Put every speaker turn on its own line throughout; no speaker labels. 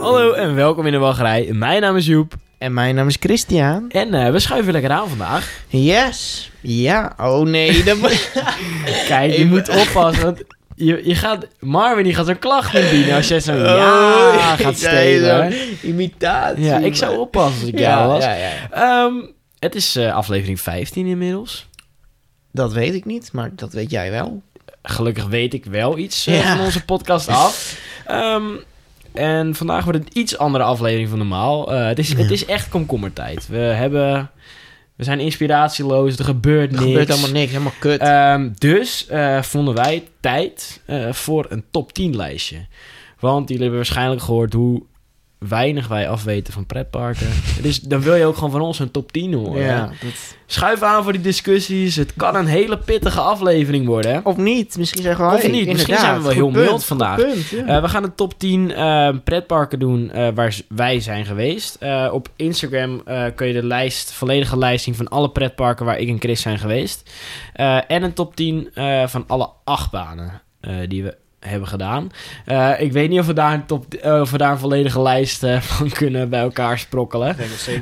Hallo en welkom in de wachtrij. Mijn naam is Joep.
En mijn naam is Christian.
En eh, we schuiven lekker aan vandaag.
Yes. Ja. Oh nee. Dat moet-
Kijk, je
Even-
moet oppassen, want je, je gaat, Marvin die gaat zo'n klacht indienen als jij zo ja
Oh,
gaat
ik zei
stelen.
zo'n Imitatie.
Ja, ik zou
man.
oppassen als ik
Ja,
jou was.
ja, ja.
Ehm, het is eh, aflevering 15 inmiddels.
Dat weet ik niet, maar dat weet jij wel.
Gelukkig weet ik wel iets eh,
Ja.
van onze podcast af. Ehm, en vandaag wordt het een iets andere aflevering van normaal. Eh, het, is, het is echt komkommertijd. We, hebben, we zijn inspiratieloos, er gebeurt
Er
niks.
gebeurt allemaal niks. Helemaal kut.
Ehm, dus eh, vonden wij tijd eh, voor een top 10 lijstje. Want jullie hebben waarschijnlijk gehoord hoe weinig wij afweten van pretparken. dus dan wil je ook gewoon van ons een top 10 horen.
ja, dat-
Schuif aan voor die discussies. Het kan een hele pittige aflevering worden. Hè?
Of niet. Misschien zeggen we
Of niet. Misschien zijn we wel heel mild vandaag.
Punt, ja.
Eh, we gaan de top 10 eh, pretparken doen eh, waar z- wij zijn geweest. Eh, op Instagram eh, kun je de lijst, volledige lijst zien van alle pretparken waar ik en Chris zijn geweest. Eh, en een top 10 eh, van alle achtbanen eh die we hebben gedaan. Eh, ik weet niet of we daar een, top, eh, of we daar een volledige lijst eh, van kunnen bij elkaar sprokkelen.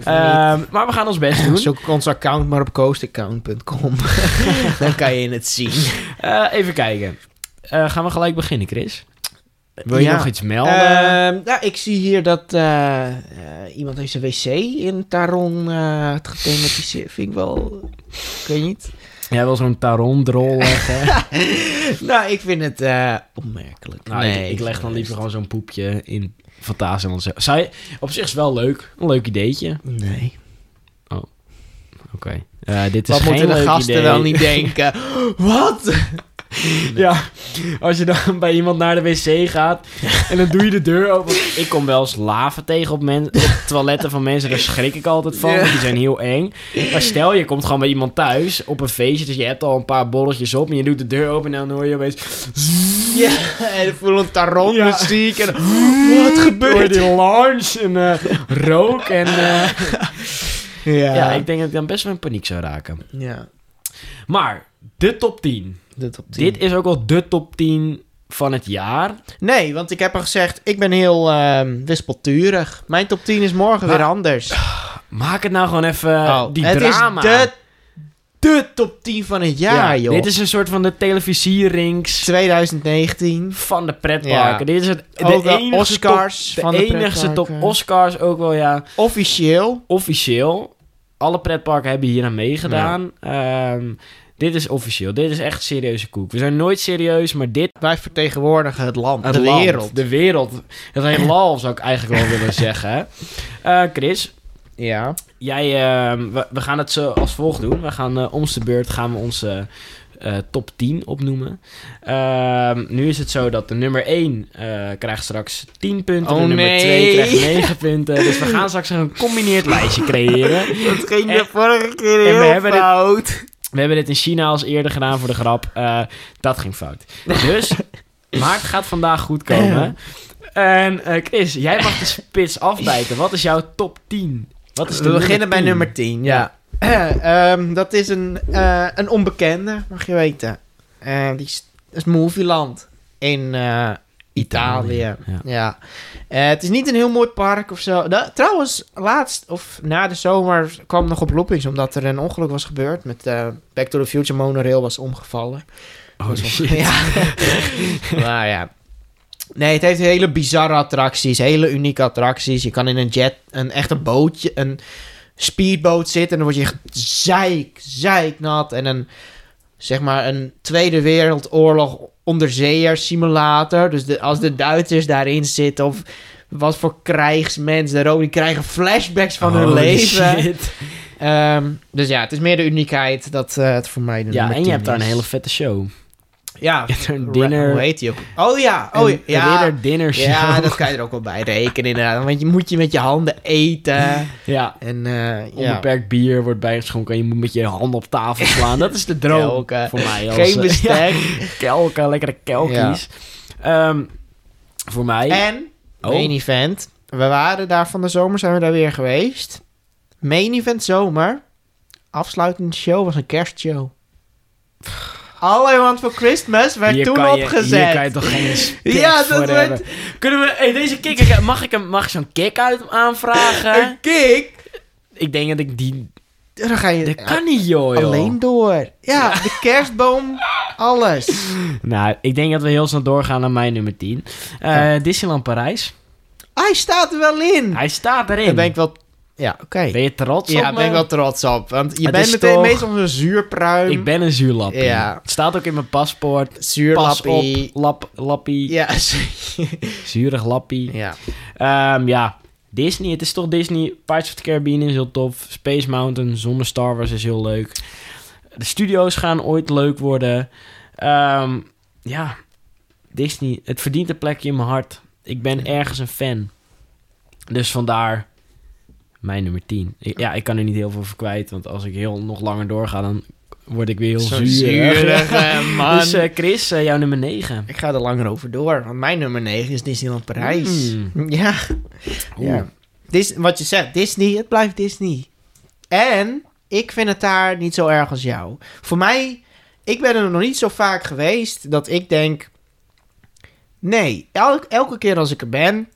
Ehm, maar we gaan ons best doen.
Zoek ons account maar op coastaccount.com. Dan kan je het zien.
Eh, even kijken. Eh, gaan we gelijk beginnen, Chris? Wil je
Ja.
nog iets melden?
Ehm, nou, ik zie hier dat eh, eh, iemand heeft zijn wc in Taron eh het gethematiseerd. Vind ik wel... Ik weet niet.
Jij wil zo'n tarondrol leggen.
nou, ik vind het eh, opmerkelijk.
Nou,
nee,
ik, ik leg dan
vind
liever
het-
gewoon zo'n poepje in Fantasieland. zelf. Zou je, op zich is wel leuk. Een leuk ideetje.
Nee.
Oké. Eh, dit is
Wat
geen
moeten de
leuk
gasten
idee.
dan niet denken? Wat?
Ja, als je dan bij iemand naar de wc gaat en dan doe je de deur open. Ik kom wel eens laven tegen op, men, op toiletten van mensen. Daar schrik ik altijd van, want die zijn heel eng. Maar stel, je komt gewoon bij iemand thuis op een feestje. Dus je hebt al een paar bolletjes op en je doet de deur open en dan hoor je opeens...
ja, en ik voel een Taron
Ja.
muziek en... Wat
Hoor je
gebeurt
die lounge en eh, rook en... eh,
Ja,
ja, ik denk dat ik dan best wel in paniek zou raken.
ja
Maar de top 10.
dit op
Dit is ook wel de top 10 van het jaar.
Nee, want ik heb al gezegd, ik ben heel ehm wispelturig. Mijn top 10 is morgen
Maar-
weer anders.
Maak het nou gewoon even
Oh,
die
het
drama.
Is de, de top 10 van het jaar,
Ja,
joh.
Dit is een soort van de televisierinks
2019.
van de pretparken.
Ja.
Dit is het de
Ook wel
enige
Oscars
top, de
van de
enige top
pretparken.
Oscars ook wel ja
Officieel.
officieel. Alle pretparken hebben hier aan meegedaan. Ehm, dit is officieel. Dit is echt serieuze koek. We zijn nooit serieus, maar dit
Wij vertegenwoordigen het land,
Het
de
land,
wereld.
De wereld. Het heelal zou ik eigenlijk wel willen zeggen. Eh, Chris,
Ja.
Jij, ehm, we, we gaan het zo als volgt doen. We gaan eh ons de beurt gaan we onze eh, top 10 opnoemen. Ehm, nu is het zo dat de nummer 1 eh, krijgt straks 10 punten.
Oh,
de nummer
nee.
2 krijgt 9 punten. Dus we gaan straks een gecombineerd lijstje creëren.
Dat ging
de
vorige keer
heel
fout.
We hebben dit in China als eerder gedaan voor de grap. Eh, dat ging fout. Dus, maar het gaat vandaag goed komen. En eh, Chris, jij mag de spits afbijten. Wat is jouw top 10? Wat is de
We beginnen bij
10?
nummer 10, ja. Ehm, dat is een, eh, een onbekende, mag je weten. Eh, die is, dat is Movieland in eh, Italië.
Ja.
Ja. Eh, het is niet een heel mooi park of zo. Da- trouwens, laatst of na de zomer kwam nog op loopings... omdat er een ongeluk was gebeurd met eh, Back to the Future monorail was omgevallen.
Oh, shit.
Ja. nou ja. Nee, het heeft hele bizarre attracties. Hele unieke attracties. Je kan in een jet, een echte bootje, een speedboot zitten. En dan word je echt zeik, zeiknat. En een, zeg maar, een Tweede Wereldoorlog onderzeeër simulator. Dus de, als de Duitsers daarin zitten of... Wat voor krijgsmensen er ook. Die krijgen flashbacks van hun
Holy
leven.
Oh, shit.
Ehm, dus ja, het is meer de uniekheid dat eh, het voor mij de
Ja,
nummer
en je
10
hebt daar een
is.
hele vette show.
Ja,
Je hebt er een
Ra-
dinner.
Hoe heet die ook? Oh ja, oh
een
ja.
Ridder dinner show.
ja, dat kan je er ook wel bij rekenen inderdaad. Want je moet je met je handen eten.
Ja,
En eh ja.
Onbeperkt bier wordt bijgeschonken en je moet met je hand op tafel slaan. Dat is de droom
Kelken.
voor mij. Als,
Geen
eh,
bestek.
ja, kelken, lekkere kelkies. Ehm, voor mij.
En
Oh.
Main event. We waren daar van de zomer, zijn we daar weer geweest. Main event zomer. Afsluitende show was een kerstshow. All I Want For Christmas werd
Hier
toen
kan je-
opgezet.
hier kan je toch geen respect
Ja,
voor
dat werd-
hebben. Kunnen we... hey, deze kick... Mag ik, hem, mag ik zo'n kick uit aanvragen?
Een kick?
ik denk dat ik die...
Dan ga je
Dat kan niet, joh. joh.
alleen door. Ja, de kerstboom, alles.
Nou, ik denk dat we heel snel doorgaan naar mijn nummer 10. Eh, Disneyland Parijs.
Hij staat er wel in.
Hij staat erin.
Daar ben ik wel... Ja, oké.
Ben je trots op
Ja, daar
me?
ben ik wel trots op. Want je
Het
bent
is
meteen
toch-
meestal zo'n zuurpruim.
Ik ben een zuurlappie.
Ja.
Het staat ook in mijn paspoort. Pas op,
Zuurlappie.
lap, lappie,
Ja.
zuurig lappie.
ja.
Ehm, ja, Disney, het is toch Disney. Pirates of the Caribbean is heel tof. Space Mountain zonder Star Wars is heel leuk. De studio's gaan ooit leuk worden. Ehm, ja, Disney, het verdient een plekje in mijn hart. Ik ben ergens een fan. Dus vandaar mijn nummer 10. Ik- ja, ik kan er niet heel veel voor kwijt. Want als ik heel nog langer doorga, dan word ik weer heel
Zo'n
zuur.
zuurige man.
Dus eh, Chris, eh, jouw nummer 9.
ik ga er langer over door. Want mijn nummer 9 is Disneyland Parijs.
Mm.
Ja. ja. Dis wat je zegt, Disney, het blijft Disney. En ik vind het daar niet zo erg als jou. Voor mij, ik ben er nog niet zo vaak geweest dat ik denk... Nee, elk, elke keer als ik er ben...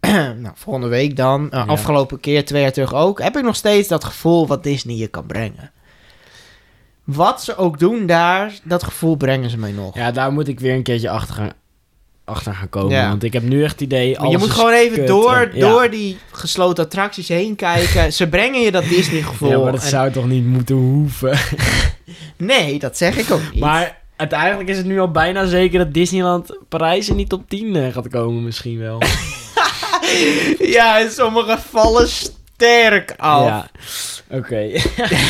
nou, volgende week dan, eh,
Ja.
afgelopen keer, twee jaar terug ook... heb ik nog steeds dat gevoel wat Disney je kan brengen. Wat ze ook doen daar, dat gevoel brengen ze mij nog.
Ja, daar moet ik weer een keertje achter gaan, achter gaan komen.
Ja.
Want ik heb nu echt het idee...
Maar je
alles
moet
is
gewoon even
kut
door,
en- ja.
door die gesloten attracties heen kijken. Ze brengen je dat Disney-gevoel.
Ja, maar dat
En-
zou toch niet moeten hoeven.
Nee, dat zeg ik ook niet.
Maar uiteindelijk is het nu al bijna zeker dat Disneyland Parijs in die top 10 eh, gaat komen misschien wel.
Ja, in sommige gevallen sterk af.
Ja. Oké.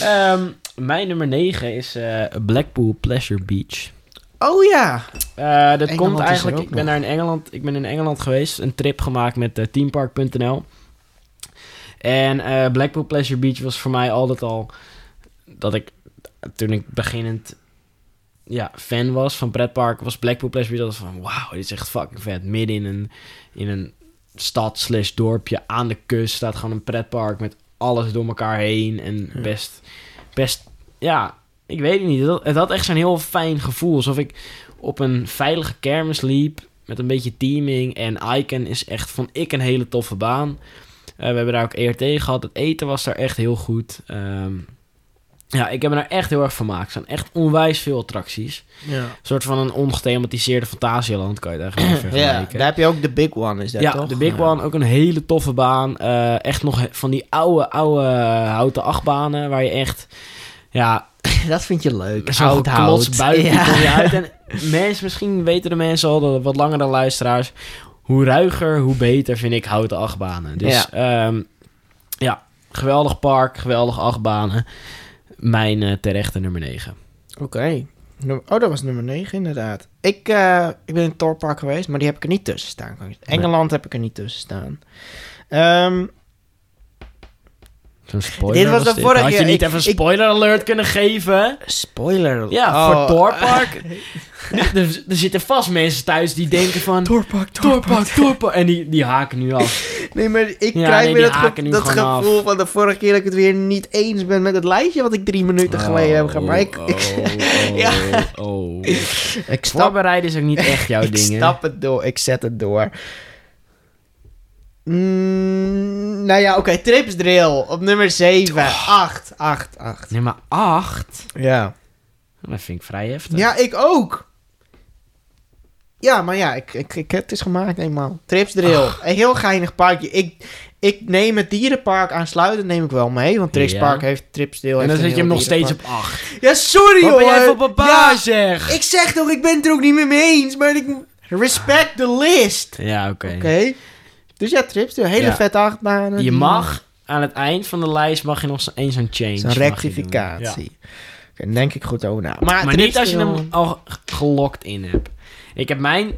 Ehm, mijn nummer 9 is eh, Blackpool Pleasure Beach.
Oh ja.
Eh, dat
Engeland is
komt
er
eigenlijk.
ook
Ik ben,
nog.
naar in Engeland, ik ben in Engeland geweest, een trip gemaakt met eh, teampark.nl. En eh, Blackpool Pleasure Beach was voor mij altijd al dat ik toen ik beginnend ja, fan was van pretpark, was Blackpool Pleasure Beach altijd van wauw, dit is echt fucking vet. Midden in een, in een stad slash dorpje aan de kust staat gewoon een pretpark met alles door elkaar heen en
Ja.
best, best, ja, ik weet het niet. Het had, het had echt zo'n heel fijn gevoel, alsof ik op een veilige kermis liep. Met een beetje teaming. En Icon is echt, vond ik, een hele toffe baan. Eh, we hebben daar ook ERT gehad. Het eten was daar echt heel goed. Ehm, ja, ik heb me daar echt heel erg van gemaakt. Er zijn echt onwijs veel attracties.
Ja,
Een soort van een ongethematiseerde fantasieland kan je daar gewoon vergelijken.
daar heb je ook de big one, is dat
ja,
toch?
de Big One, ook een hele toffe baan. Eh, echt nog he- van die oude, oude eh, houten achtbanen waar je echt... Ja,
Dat vind je leuk.
Zo'n
Oud hout.
geklots buiten
Ja.
kom je uit. En mensen, misschien weten de mensen al, de wat langere luisteraars... hoe ruiger, hoe beter vind ik houten achtbanen. Dus ja, ja geweldig park, geweldig achtbanen. Mijn eh, terechte nummer 9.
Oké. Nummer- Oh, dat was nummer 9 inderdaad. Ik, eh, ik ben in het Torpark geweest, maar die heb ik er niet tussen staan. kan ik- Engeland heb ik er niet tussen staan. Ehm,
Zo'n spoiler
Dit was de vorige
Had je
keer.
niet
Ik-
even een
ik-
spoiler alert kunnen geven?
spoiler.
Ja, voor
Oh,
Doorpark. er, er zitten vast mensen thuis die denken van...
Torpark, Torpark.
Doorpark, Doorpark. En die, die haken nu af.
Nee, maar ik
Ja,
krijg
nee, die
weer dat, ge-
haken nu
dat
gewoon af.
gevoel van de vorige keer dat ik het weer niet eens ben met het lijstje wat ik drie minuten geleden heb gemaakt. Maar ik,
Oh,
ik,
oh,
Ja.
oh.
ik snap
Voorbereiden is ook niet echt jouw
ik
ding, hè?
stap het door. Ik zet het door. Mm, nou ja, oké. Trips drill op nummer 7.
Oh.
8, 8, 8.
Nummer 8.
Ja.
Dat vind ik vrij heftig.
Ja, ik ook. Ja, maar ja, ik, ik, ik- het is gemaakt eenmaal. Trips drill. Een heel geinig parkje. Ik, ik neem het dierenpark aansluitend neem ik wel mee. Want Trips
Ja.
Park heeft Trips
en
drill. heeft
dan
een
zet je hem
heel
nog steeds op
dierenpark.
8.
Ja, sorry
Wat
hoor.
ben jij voor papa,
Ja,
zeg?
ik zeg toch, ik ben het er ook niet meer mee eens. Maar ik... Respect the list.
Ja, oké.
Oké. Dus ja, trips. Een hele
Ja.
vette achtbanen.
Je
Die-
mag aan het eind van de lijst mag je nog eens een change.
Zo'n
mag je doen. Ja.
rectificatie. Oké, dan denk ik goed over na. Maar,
Maar
trips
niet als je
doen-
hem oh, al g- gelokt in hebt. Ik heb mijn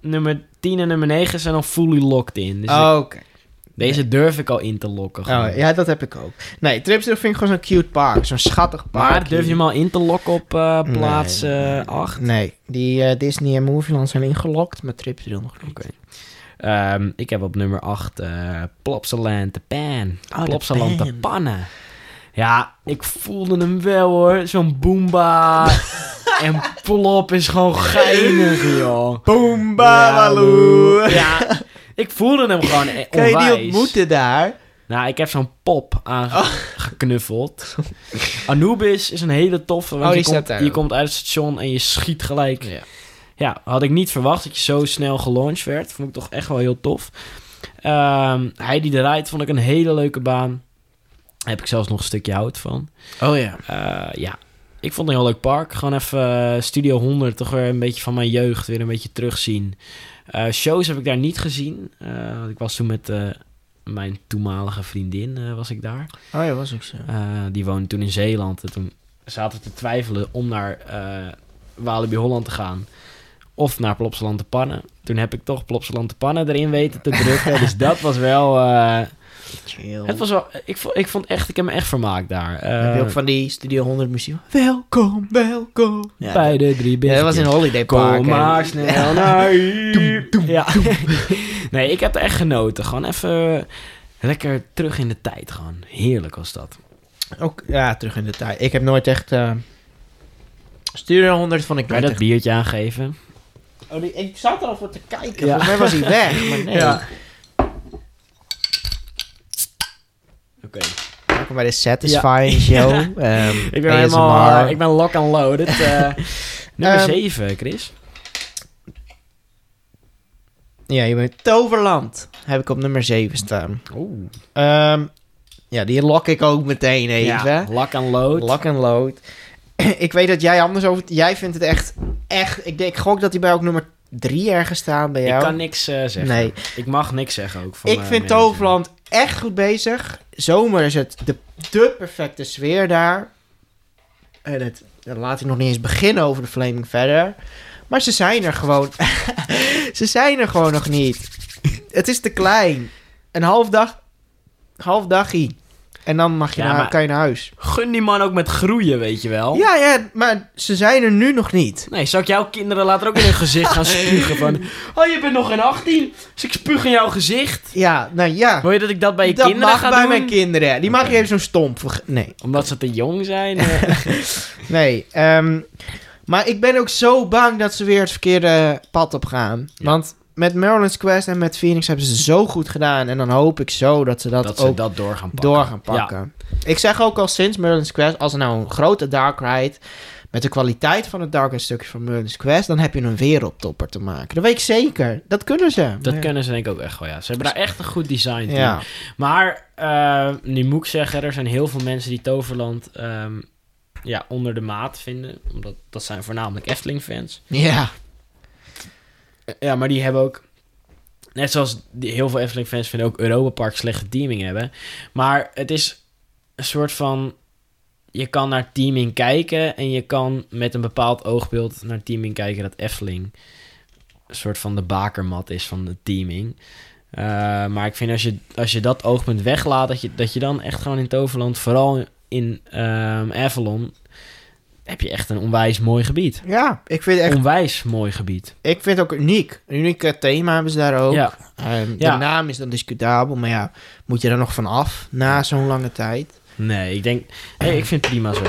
nummer 10 en nummer 9 zijn al fully locked in. Dus ik-
Oh, Oké.
deze durf ik al in te lokken. gewoon.
Oh, ja, dat heb ik ook. Nee, trips doen vind ik gewoon zo'n cute park. Zo'n schattig park.
Maar durf je hem al in te lokken op eh, plaats
Nee.
8?
Nee, die eh, Disney en Movieland zijn ingelokt, maar trips doen nog niet.
Oké. Ehm, ik heb op nummer 8 eh Plopsaland de Pan.
Oh, de
Plopsaland de,
Pan.
Pannen. Ja, ik voelde hem wel hoor. Zo'n boomba. en plop is gewoon geinig, joh.
Boomba,
Ja, ik voelde hem gewoon eh,
Kan je die
onwijs.
ontmoeten daar?
Nou, ik heb zo'n pop
Oh.
aangeknuffeld. Anubis is een hele toffe. Want
Oh, die
je, komt,
staat daar
je
ook.
komt uit het station en je schiet gelijk. Ja.
Ja.
had ik niet verwacht dat je zo snel gelaunched werd. Vond ik toch echt wel heel tof. Ehm hij die draait vond ik een hele leuke baan. Daar heb ik zelfs nog een stukje hout van.
Oh ja.
Eh, ja, ik vond het een heel leuk park. Gewoon even eh, Studio 100, toch weer een beetje van mijn jeugd, weer een beetje terugzien. Eh, shows heb ik daar niet gezien. Eh, want ik was toen met eh, mijn toenmalige vriendin, eh, was ik daar.
Oh ja, was ook zo.
Eh, die woonde toen in Zeeland. En toen zaten we te twijfelen om naar eh Walibi Holland te gaan. Of naar Plopsaland de Pannen. Toen heb ik toch Plopsaland de Pannen erin weten te drukken. dus dat was wel... eh,
Chill.
het was wel ik, vond, ik vond echt... Ik heb me echt vermaakt daar.
Heb je
Eh,
ook van die Studio 100 muziek? Welkom, welkom. Ja,
bij de drie
ja, dat was in Holiday Park.
Kom
hè.
maar snel naar hier. Ja. Nee, ik heb er echt genoten. Gewoon even lekker terug in de tijd. Gewoon heerlijk was dat.
Ook, ja, terug in de tijd. Ik heb nooit echt... eh Studio 100 vond ik
Kan je dat
prettig.
biertje aangeven?
Oh, die- ik zat er al voor te kijken.
Ja.
Volgens mij was hij weg, maar nee.
Ja. Oké.
Welkom bij de Satisfying Show. Ehm,
Ik ben
ASMR.
helemaal... ik ben lock and loaded. eh. nummer
Ehm,
7, Chris.
Ja, je bent Toverland. Heb ik op nummer 7 staan.
Oeh.
Ehm, ja, die lok ik ook meteen even.
Ja, lock and load.
Lak en lood. ik weet dat jij anders over... Jij vindt het echt... echt ik, denk, ik gok dat hij bij ook nummer 3 ergens staan bij
ik
jou.
kan niks eh, zeggen.
Nee.
Ik mag niks zeggen ook. Van
Ik
mijn
vind
manager.
Toverland echt goed bezig. Zomer is het de, de perfecte sfeer daar. En het, dan laat ik nog niet eens beginnen over de Flaming verder. Maar ze zijn er gewoon. ze zijn er gewoon nog niet. Het is te klein. Een half dag. Half dagie. En dan mag je
Ja,
naar,
maar- Oh.
kan je naar huis.
Gun die man ook met groeien, weet je wel.
Ja, ja, maar ze zijn er nu nog niet.
Nee, zou ik jouw kinderen later ook in hun gezicht gaan spugen van... Oh, je bent nog geen 18, dus ik spuug in jouw gezicht.
Ja, nou ja.
Wil je dat ik dat bij je
dat
kinderen
mag
ga
bij
doen?
mijn kinderen. Die mag
Oké.
je even zo'n stomp. verge- Nee.
Omdat ze te jong zijn. eh.
Nee, ehm, maar ik ben ook zo bang dat ze weer het verkeerde pad op gaan. Want met Maryland's Quest en met Phoenix hebben ze zo goed gedaan. En dan hoop ik zo dat ze dat,
dat ze
ook
dat door gaan pakken.
door gaan pakken. Ik zeg ook al sinds Maryland's Quest, als er nou een grote dark ride... met de kwaliteit van het dark ride stukje van Maryland's Quest... dan heb je een wereldtopper te maken. Dat weet ik zeker. Dat kunnen ze.
Dat
Ja.
kunnen ze denk ik ook echt wel, ja. Ze hebben daar echt een goed design team.
Ja.
Maar, eh, nu moet ik zeggen, er zijn heel veel mensen die Toverland ehm, ja, onder de maat vinden. Omdat dat zijn voornamelijk Efteling-fans.
Ja.
Ja, maar die hebben ook... Net zoals die, heel veel Efteling-fans vinden ook Europa Park slechte teaming hebben. Maar het is een soort van... Je kan naar teaming kijken en je kan met een bepaald oogbeeld naar teaming kijken dat Efteling een soort van de bakermat is van de teaming. Eh, maar ik vind als je, als je dat oogpunt weglaat, dat je, dat je dan echt gewoon in Toverland, vooral in ehm, Avalon, heb je echt een onwijs mooi gebied.
ja, ik vind, echt,
Onwijs mooi gebied.
ik vind het ook uniek. Een uniek eh, thema hebben ze daar ook.
Ja.
Ehm,
Ja.
De naam is dan discutabel, maar ja, moet je er nog van af na zo'n lange tijd?
Nee, ik denk... Nee, ik vind het prima zo.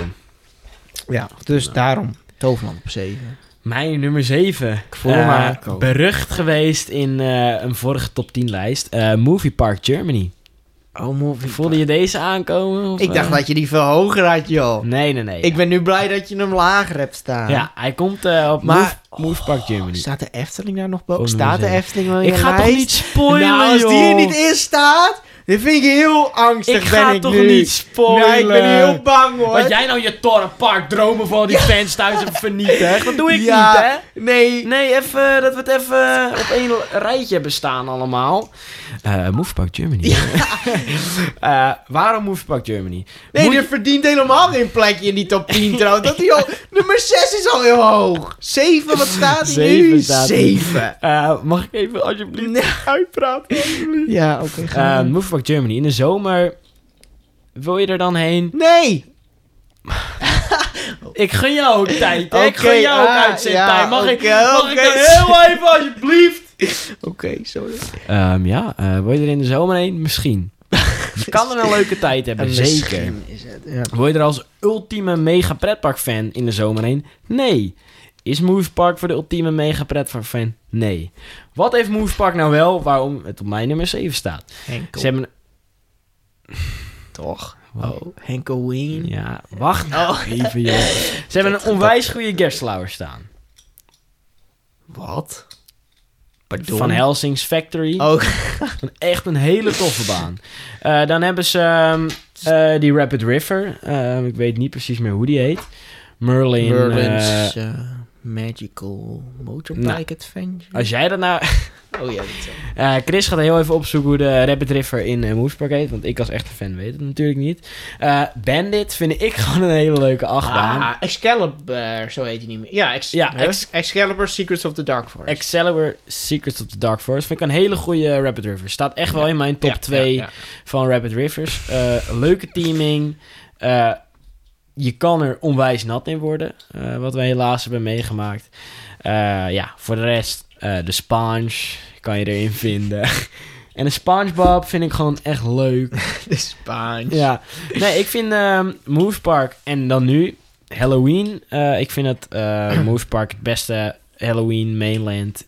Ja, dus daarom Toverland op 7.
Mijn nummer 7. Ik
voel hem aankomen.
Berucht geweest in eh, een vorige top 10 lijst. Eh, Movie Park Germany.
Oh, movie.
Voelde je deze aankomen? of,
Ik dacht
eh?
dat je die veel hoger had, joh.
Nee, nee, nee.
Ik ben nu blij dat je hem lager hebt staan.
Ja, hij komt eh, op
Maar-
Move, Movie Park
Oh,
Germany.
Staat de Efteling daar nog
Oh,
boven?
nummer
Staat de
zeven.
Efteling wel in
ik
je
ga toch
lijst?
niet spoilen,
Nou, als die
joh.
er niet in staat, dan vind ik heel angstig,
Ik
ben
ga
ik
toch
nu.
niet spoilen.
Nee, ik ben heel bang, hoor.
Wat jij nou je Park dromen van die fans thuis hebt vernietigd. Dat doe ik
Ja,
niet, hè?
Nee.
Nee, even dat we het even op één rijtje bestaan allemaal. Move Park Germany. Eh, waarom Move Park Germany?
Nee,
Moet
die
je-
verdient helemaal geen plekje in die top 10 trouwens. Dat die al, nummer 6 is al heel hoog. 7, wat staat hij nu?
Zeven staat hij.
7.
Eh, mag ik even alsjeblieft uitpraten? alsjeblieft?
Ja, oké.
Eh,
ga maar.
Move Park Germany. In de zomer wil je er dan heen?
nee.
Ik gun jou ook tijd. hè? ik
Oké,
gun jou ook
ah,
uitzendtijd.
ja,
mag ik,
oké,
mag ik
oké.
dat heel even alsjeblieft?
Oké, sorry.
Ehm, ja, eh wil je er in de zomer heen? Misschien. Je kan er een leuke tijd hebben,
En
zeker.
misschien Is het, ja.
Word je er als ultieme mega pretpark fan in de zomer heen? Nee. Is Moose Park voor de ultieme mega pretpark fan? Nee. Wat heeft Moose Park nou wel waarom het op mijn nummer 7 staat?
Henkel,
Ze hebben...
toch?
Wow.
Oh, Henkel Oh. Ween.
Ja, wacht nou even, joh. Ze hebben een onwijs goede Gerstlauer staan.
Wat? Pardon?
Van Helsing's Factory.
Oh,
Echt een hele toffe baan. Eh, dan hebben ze ehm, eh, die Rapid River. Ehm, ik weet niet precies meer hoe die heet. Merlin. eh,
Merlin's eh, Magical Motorbike
nou,
Adventure.
als jij dat nou...
Oh ja, dat is wel-
Eh, Chris gaat heel even opzoeken hoe de Rapid River in uh, Moose Park heet. Want ik als echte fan weet het natuurlijk niet. Eh, Bandit vind ik gewoon een hele leuke achtbaan.
Ah, Excalibur, zo heet hij niet meer. Ja, ex
Ja,
hè?
Ex-
Excalibur Secrets of the Dark Forest.
Excalibur Secrets of the Dark Forest vind ik een hele goede Rapid River. Staat echt wel in mijn top
Ja,
2
ja, ja.
van Rapid Rivers. Eh, leuke teaming. Eh, je kan er onwijs nat in worden. eh, wat wij helaas hebben meegemaakt. Eh, ja, voor de rest, eh, de sponge kan je erin vinden. en een SpongeBob vind ik gewoon echt leuk.
De Spaans.
Ja, nee, ik vind ehm Moose Park en dan nu Halloween. eh, ik vind het eh Moose Park het beste Halloween mainland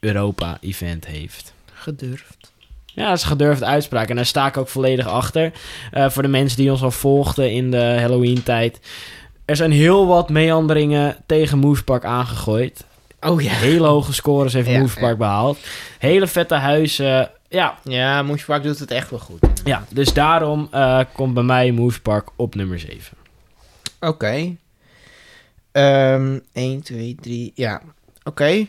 Europa event heeft.
Gedurfd.
Ja, dat is een gedurfde uitspraak. En daar sta ik ook volledig achter. Eh, voor de mensen die ons al volgden in de Halloween-tijd. Er zijn heel wat meanderingen tegen Moose Park aangegooid.
Oh ja.
Hele hoge scores heeft
Ja,
Moose Park behaald. Hele vette huizen. Ja,
Ja, Moesje Park doet het echt wel goed.
ja. dus daarom eh, komt bij mij Moose Park op nummer 7.
Oké. Ehm 1, 2, 3. Ja. Oké.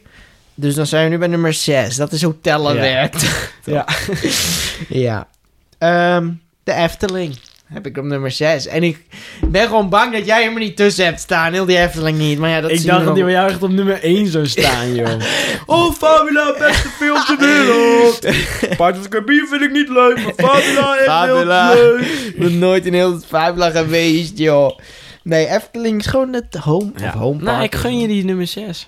Dus dan zijn we nu bij nummer 6. Dat is hoe tellen
Ja.
werkt.
Ja.
ja. Ehm, de Efteling heb ik op nummer 6. En ik ben gewoon bang dat jij hem er niet tussen hebt staan. Heel die Efteling niet. Maar ja, dat
ik
zien
dacht
we
dat die
wel.
bij jou echt op nummer 1 zou staan, joh.
Oh,
nou
Fabula, beste film ter wereld.
Part of the Caribbean vind ik niet leuk, maar Fabula
echt Fabula. heel Ik ben nooit in heel het Fabula geweest, joh. Nee, Efteling is gewoon het home of home park.
Nou, ik gun je die nummer 6.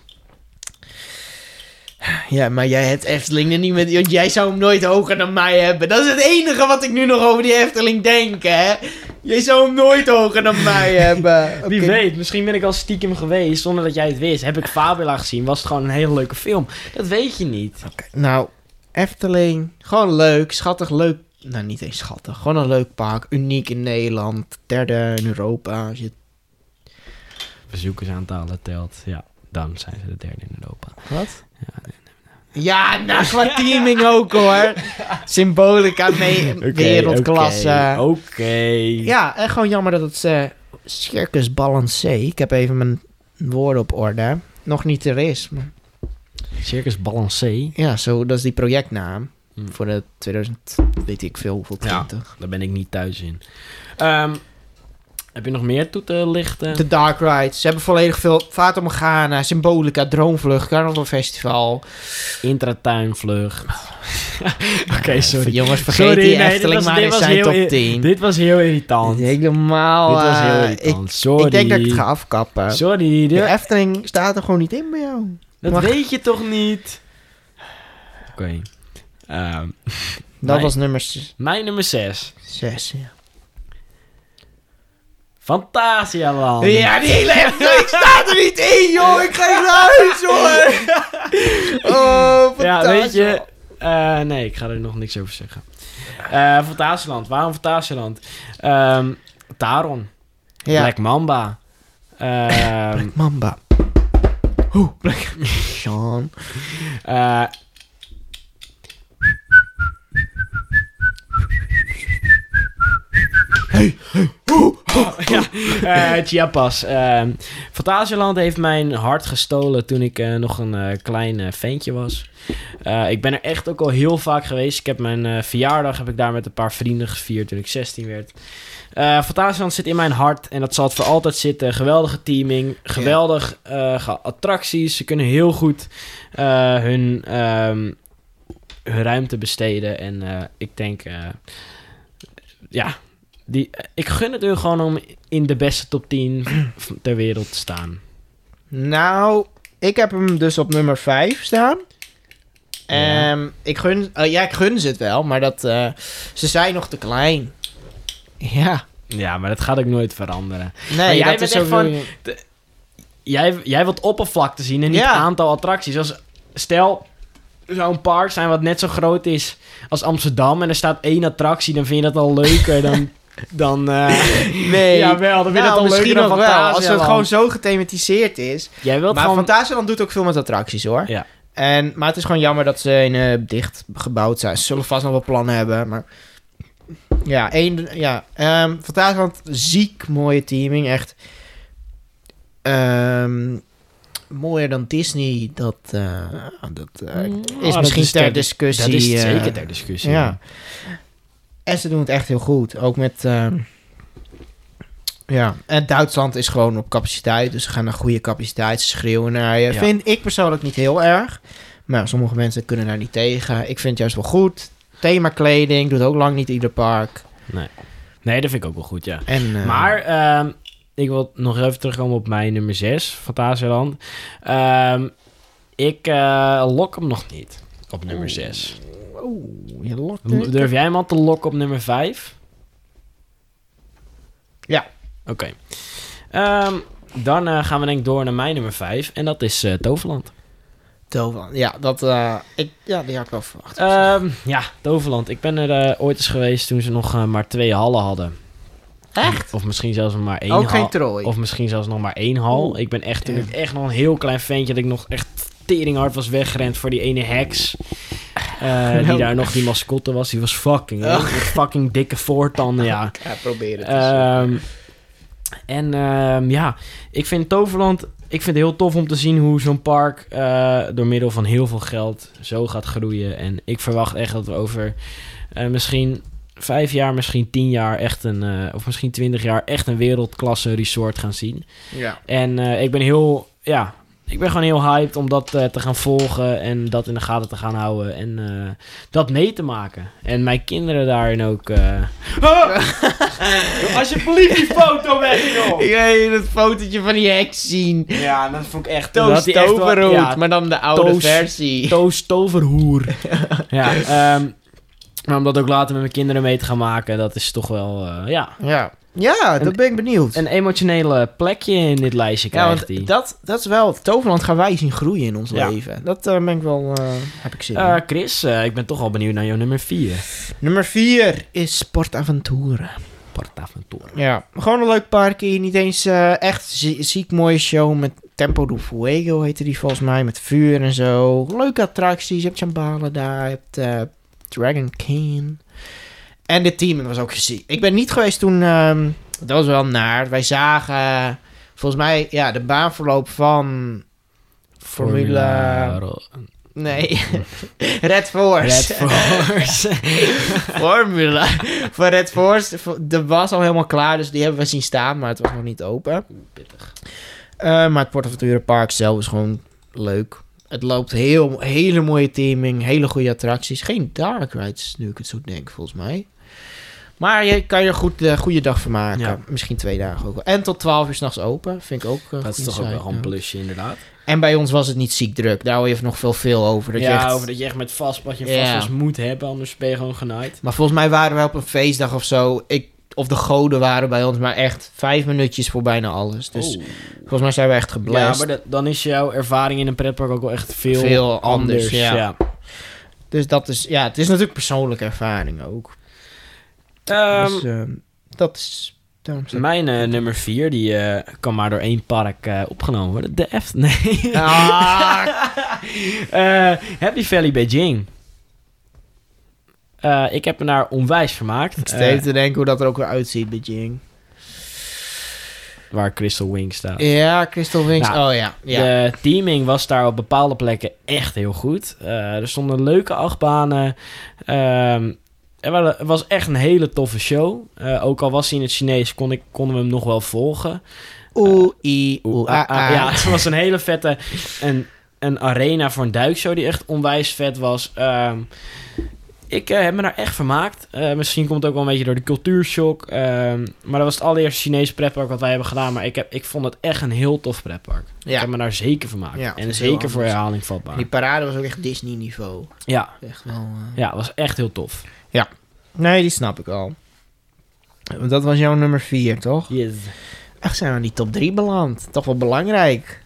Ja, maar jij hebt Efteling er niet met... Want jij zou hem nooit hoger dan mij hebben. Dat is het enige wat ik nu nog over die Efteling denk, hè. Jij zou hem nooit hoger dan mij hebben.
Wie
Oké.
weet, misschien ben ik al stiekem geweest zonder dat jij het wist. Heb ik Fabula gezien, was het gewoon een hele leuke film. Dat weet je niet.
Oké, Nou, Efteling. Gewoon leuk, schattig, leuk. Nou, niet eens schattig. Gewoon een leuk park. Uniek in Nederland. Derde in Europa. Als je-
Bezoekersaantallen telt, ja. Dan zijn ze de derde in Europa.
Wat? Ja, nou, qua teaming ook, hoor. Symbolica, mee, wereldklasse.
Oké.
Ja, en gewoon jammer dat het eh, Circus Balancé, ik heb even mijn woorden op orde, nog niet er is. Maar,
Circus Balancé.
ja, zo, dat is die projectnaam
Hmm.
voor de 2000, weet ik veel, hoeveel,
Ja.
20.
Daar ben ik niet thuis in. Ehm, heb je nog meer toe te lichten?
De Dark Rides, ze hebben volledig veel Fata Morgana, eh, Symbolica, Droomvlucht, Carnival Festival.
Intratuinvlucht. Oké, sorry.
Eh, Jongens, vergeet
Sorry,
die
nee, dit
Efteling
was-
maar
dit
in
was
zijn
heel
top
i-
10.
Dit was heel irritant.
Helemaal,
Dit was heel
eh,
irritant.
ik,
sorry.
ik denk dat ik het ga afkappen.
Sorry, dit-
De Efteling staat er gewoon niet in bij jou.
dat
mag-
weet je toch niet? Oké. Ehm,
Dat
Nee.
was nummer 6,
mijn nummer 6.
ja.
Fantasialand.
Ja, die hele Efteling staat er niet in, joh. Ik ga hier naar huis, hoor. Oh,
Ja,
fantastisch.
weet je... eh, nee, ik ga er nog niks over zeggen. Eh Fantasieland. Waarom Fantasieland? Ehm Taron.
Ja.
Black Mamba. Ehm,
Mamba. Hoe? Black. Sean.
eh, ja, eh, Chiapas. Ehm, Fantasieland heeft mijn hart gestolen toen ik eh, nog een eh, klein eh, ventje was. Eh, ik ben er echt ook al heel vaak geweest. Ik heb mijn eh, verjaardag heb ik daar met een paar vrienden gevierd toen ik 16 werd. Eh Fantasieland zit in mijn hart en dat zal het voor altijd zitten. Geweldige teaming, geweldig eh, ge- attracties. Ze kunnen heel goed eh, hun, ehm, hun ruimte besteden. En eh, ik denk, eh, ja, die, ik gun het hun gewoon om in de beste top 10 v- ter wereld te staan.
Nou, ik heb hem dus op nummer 5 staan.
Ja.
Ehm, ik gun, eh, ja, ik gun ze het wel, maar dat, eh, ze zijn nog te klein. Ja,
Ja, maar dat gaat ook nooit veranderen. jij
nee, dat
bent
is
echt
ook
van-
weer-
Jij, jij wilt oppervlakte zien en niet
Ja.
het aantal attracties. Als, stel, zo'n park zijn wat net zo groot is als Amsterdam... en er staat één attractie, dan vind je dat al leuker dan... dan eh,
Nee.
Jawel, dan vind je dat
Nou,
al leuker
misschien
dan
nog wel, als het
Fantasialand.
gewoon zo gethematiseerd is.
Jij wilt
maar
gewoon...
Fantasieland doet ook veel met attracties, hoor.
Ja.
En, maar het is gewoon jammer dat ze in, eh, dicht gebouwd zijn. Ze zullen vast nog wel plannen hebben, maar... Ja, één, ja. ehm Fantasieland, ziek mooie teaming, echt. Ehm, mooier dan Disney, dat, eh, dat eh,
Oh,
is
dat
misschien
is
ter
ter-
discussie.
dat is
eh,
zeker ter discussie.
ja. En ze doen het echt heel goed. Ook met. ehm, ja, en Duitsland is gewoon op capaciteit. Dus ze gaan naar goede capaciteit. Ze schreeuwen naar je.
Ja.
Vind ik persoonlijk niet heel erg. Maar ja, sommige mensen kunnen daar niet tegen. Ik vind het juist wel goed. Thema kleding doet ook lang niet ieder park.
Nee, dat vind ik ook wel goed, ja.
En, eh,
Maar ehm, ik wil nog even terugkomen op mijn nummer 6, Fantasieland. Ehm ik eh, lok hem nog niet op nummer 6.
Oeh, je lokt het.
Durf jij hem al te lokken op nummer 5?
Ja.
Oké. Ehm, dan eh, gaan we denk ik door naar mijn nummer 5 en dat is eh, Toverland.
Toverland. Ja, dat, eh, ik, ja, die had ik wel verwacht.
Ehm, ja, Toverland. Ik ben er eh, ooit eens geweest toen ze nog eh, maar twee hallen hadden.
echt?
Of misschien zelfs nog maar één
Ook geen
hal.
trooi.
Of misschien zelfs nog maar één hal.
Oeh.
ik ben echt, toen
Damn.
ik echt nog een heel klein ventje... dat ik nog echt teringhard was weggerend voor die ene heks. eh, die
Nou. Oh.
daar nog die mascotte was. Die was fucking... hè, met fucking dikke voortanden, ja.
ja, probeer het. eens.
Ehm, en ehm, ja, ik vind Toverland... Ik vind het heel tof om te zien hoe zo'n park... eh, door middel van heel veel geld zo gaat groeien. En ik verwacht echt dat we over eh, misschien... Vijf jaar, misschien tien jaar, echt een, eh, of misschien twintig jaar, echt een wereldklasse resort gaan zien.
ja.
En eh, ik ben heel, ja, ik ben gewoon heel hyped om dat eh, te gaan volgen en dat in de gaten te gaan houden en eh, dat mee te maken. En mijn kinderen daarin ook. eh alsjeblieft die foto weg, joh!
Jee, dat fotootje van die heks zien.
Ja, dat vond ik echt...
Toast
die echt wel-
Toverhoed,
ja,
maar dan de oude
Toast.
versie.
Toast toverhoer. ja, ehm, maar om dat ook later met mijn kinderen mee te gaan maken, dat is toch wel, eh, ja...
Ja, ja
Een-
dat ben ik benieuwd.
Een emotionele plekje in dit lijstje
ja,
krijgt hij.
want dat, dat is wel... Toverland gaan wij zien groeien in ons
Ja.
leven. Dat eh, ben ik wel... eh, heb ik zin in.
Eh, Chris, eh, ik ben toch al benieuwd naar jouw nummer 4.
Nummer 4 is Sportavonturen.
Portaventura.
Ja, gewoon een leuk parkje. Niet eens eh, echt zie- ziek mooie show met Tempo do Fuego heette die volgens mij. Met vuur en zo. Leuke attracties. Je hebt Chambala daar. Je hebt eh, Dragon King. En de team was ook ziek. Ik ben niet geweest toen... ehm, dat was wel naar. Wij zagen eh, volgens mij ja, de baanverloop van... Formula... Nee. Red Force.
Red Force.
Formula. Voor Red Force, voor- de was al helemaal klaar, dus die hebben we zien staan, maar het was nog niet open.
pittig.
Eh, maar het PortAventura Park zelf is gewoon leuk. Het loopt heel, hele mooie teaming, hele goede attracties. Geen dark rides, nu ik het zo denk, volgens mij. Maar je kan je er goed, eh, goede dag van maken.
Ja.
Misschien twee dagen ook wel. En tot 12 uur s'nachts open, vind ik ook. eh,
Dat is
goede
toch ook
site,
wel een
ja.
plusje, inderdaad.
En bij ons was het niet ziek druk. Daar hoor je nog veel, veel over. Dat je
ja,
echt-
over dat je echt met vastpas je
Ja.
vastpas moet hebben, anders ben je gewoon genaaid.
Maar volgens mij waren we op een feestdag of zo. Ik, of de goden waren bij ons, maar echt vijf minuutjes voor bijna alles. Dus
Oh.
volgens mij zijn we echt
Ja,
geblest.
maar dat- dan is jouw ervaring in een pretpark ook wel echt veel,
Veel anders, ja.
ja.
Dus dat is, ja, het is natuurlijk persoonlijke ervaring ook.
Ehm,
dus ehm, dat is, daarom zeg ik-
mijn eh, nummer 4, die eh, kan maar door één park eh, opgenomen worden. De Eft. Nee.
Ah,
Eh, Happy Valley Beijing. Eh, ik heb me daar onwijs vermaakt.
ik zit
Eh,
even te denken hoe dat er ook weer uitziet, Beijing.
Eh, waar Crystal Wing staat.
Ja, Crystal Wings.
Nou,
oh ja, ja.
De teaming was daar op bepaalde plekken echt heel goed. Eh, er stonden leuke achtbanen. Ehm er wa- het was echt een hele toffe show. Eh, ook al was hij in het Chinees, kon ik, konden we hem nog wel volgen.
Oeh, i, oeh,
eh, Oeh,
ah,
ah, ah. Ja,
ah.
het was een hele vette... Een, een arena voor een duikshow die echt onwijs vet was. Ehm, ik eh, heb me daar echt vermaakt. Eh, misschien komt het ook wel een beetje door de cultuurshock. ehm, maar dat was het allereerste Chinese pretpark wat wij hebben gedaan. Maar ik, heb, ik vond het echt een heel tof pretpark. Ik
Ja.
heb me daar zeker vermaakt.
Ja, het
en
is
zeker
heel
voor
anders.
herhaling vatbaar.
Die parade was ook echt Disney-niveau.
Ja,
Echt wel... eh.
ja, het was echt heel tof.
Nee, die snap ik al. Want Dat was jouw nummer 4, toch?
Yes.
Echt zijn we in die top 3 beland. Toch wel belangrijk.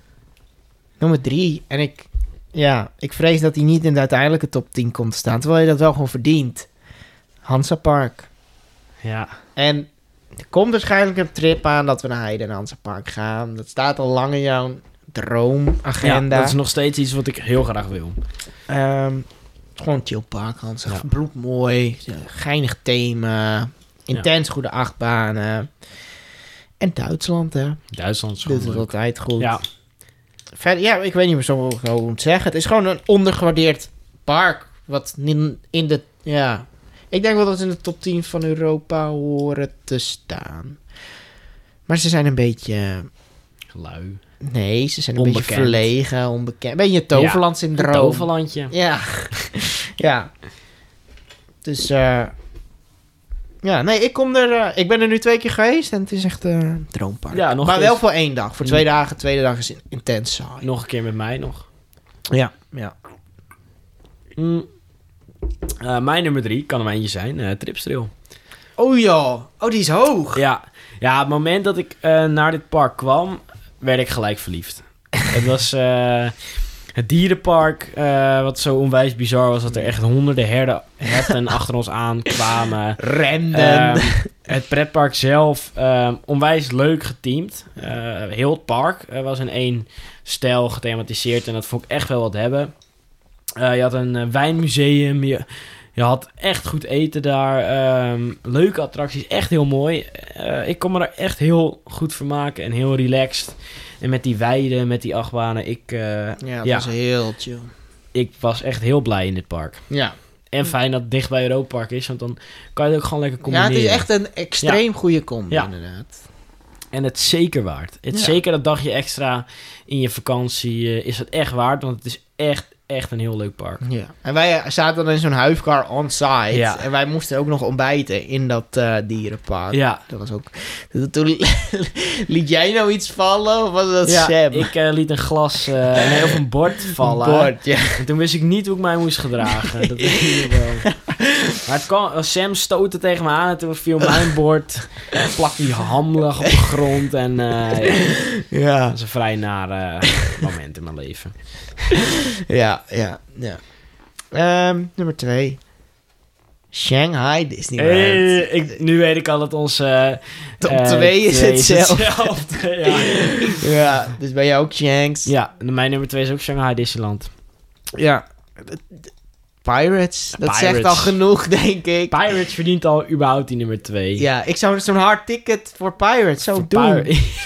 Nummer 3. En ik, ja, ik vrees dat hij niet in de uiteindelijke top 10 komt te staan. Terwijl je dat wel gewoon verdient. Hansa Park.
Ja.
En er komt waarschijnlijk een trip aan dat we naar Heiden en Hansa Park gaan. Dat staat al lang in jouw droomagenda.
ja, dat is nog steeds iets wat ik heel graag wil.
Ehm, gewoon chill park, Hans.
Ja.
Bloedmooi, geinig thema, intens goede achtbanen. En Duitsland, hè.
Duitsland is
Doet
gewoon
het
leuk.
altijd goed.
Ja,
Verder, ja, ik weet niet meer zo hoe ik het nou zeggen. Het is gewoon een ondergewaardeerd park. Wat in, in de... Ja. Ik denk wel dat ze in de top 10 van Europa horen te staan. Maar ze zijn een beetje...
lui.
Nee, ze zijn een beetje
Onbekend.
verlegen, onbekend. Beetje Toverland-syndroom.
Toverlandje.
Ja. ja. Dus, eh ja, nee, ik kom er, eh, ik ben er nu twee keer geweest en het is echt eh, een droompark.
Ja, nog Mm.
maar
eens.
wel voor één dag. Voor twee dagen, tweede dag is in- intens saai.
Nog een keer met mij nog.
Ja, ja.
Mm. Eh, mijn nummer drie kan er maar eentje zijn. eh Tripstrail.
Oh ja, oh die is hoog.
Ja. ja, het moment dat ik eh, naar dit park kwam, werd ik gelijk verliefd. het was eh, het dierenpark, eh, wat zo onwijs bizar was, dat er echt honderden herden, herten achter ons aan kwamen.
Renden.
Ehm, het pretpark zelf, ehm, onwijs leuk geteamd. Eh, heel het park eh, was in één stijl gethematiseerd en dat vond ik echt wel wat hebben. Eh, je had een eh, wijnmuseum, je, je had echt goed eten daar. ehm, leuke attracties, echt heel mooi. Eh, ik kon me daar echt heel goed vermaken en heel relaxed. En met die weiden, met die achtbanen, ik, eh,
ja, dat
ja.
was heel chill.
ik was echt heel blij in dit park.
Ja.
En fijn dat het dicht bij Europa Park is, want dan kan je het ook gewoon lekker
ja,
combineren.
het is echt een extreem goede combi
Ja.
inderdaad.
En het is zeker waard. Het is
Ja.
Zeker dat dagje extra in je vakantie eh, is het echt waard. Want het is echt, echt een heel leuk park.
Ja. En wij eh, zaten dan in zo'n huifkar on-site.
Ja.
En wij moesten ook nog ontbijten in dat eh, dierenpark.
Ja.
Dat was ook... Toen liet jij nou iets vallen? Of was dat
ja,
Sam?
ik eh, liet een glas, eh nee, of een bord vallen.
Bord, ja.
En toen wist ik niet hoe ik mij moest gedragen. Dat weet ik nog wel. Maar het kwam, eh, Sam stootte tegen me aan en toen viel mijn bord. Plakte die hamlig op de grond. En eh, ja,
ja.
dat is een vrij naar eh, moment in mijn leven.
Ja, ja, ja. Ehm, nummer twee. Shanghai Disneyland.
Hey, Eh, ik, nu weet ik al dat onze...
Top
eh,
twee is hetzelfde.
hetzelfde, ja.
Ja, dus bij jou ook Shanks.
Ja, en mijn nummer 2 is ook Shanghai Disneyland.
Ja. Pirates. Dat zegt
Pirates.
al genoeg, denk ik.
Pirates verdient al überhaupt die nummer 2.
Ja, ik zou zo'n hard ticket voor Pirates zo doen.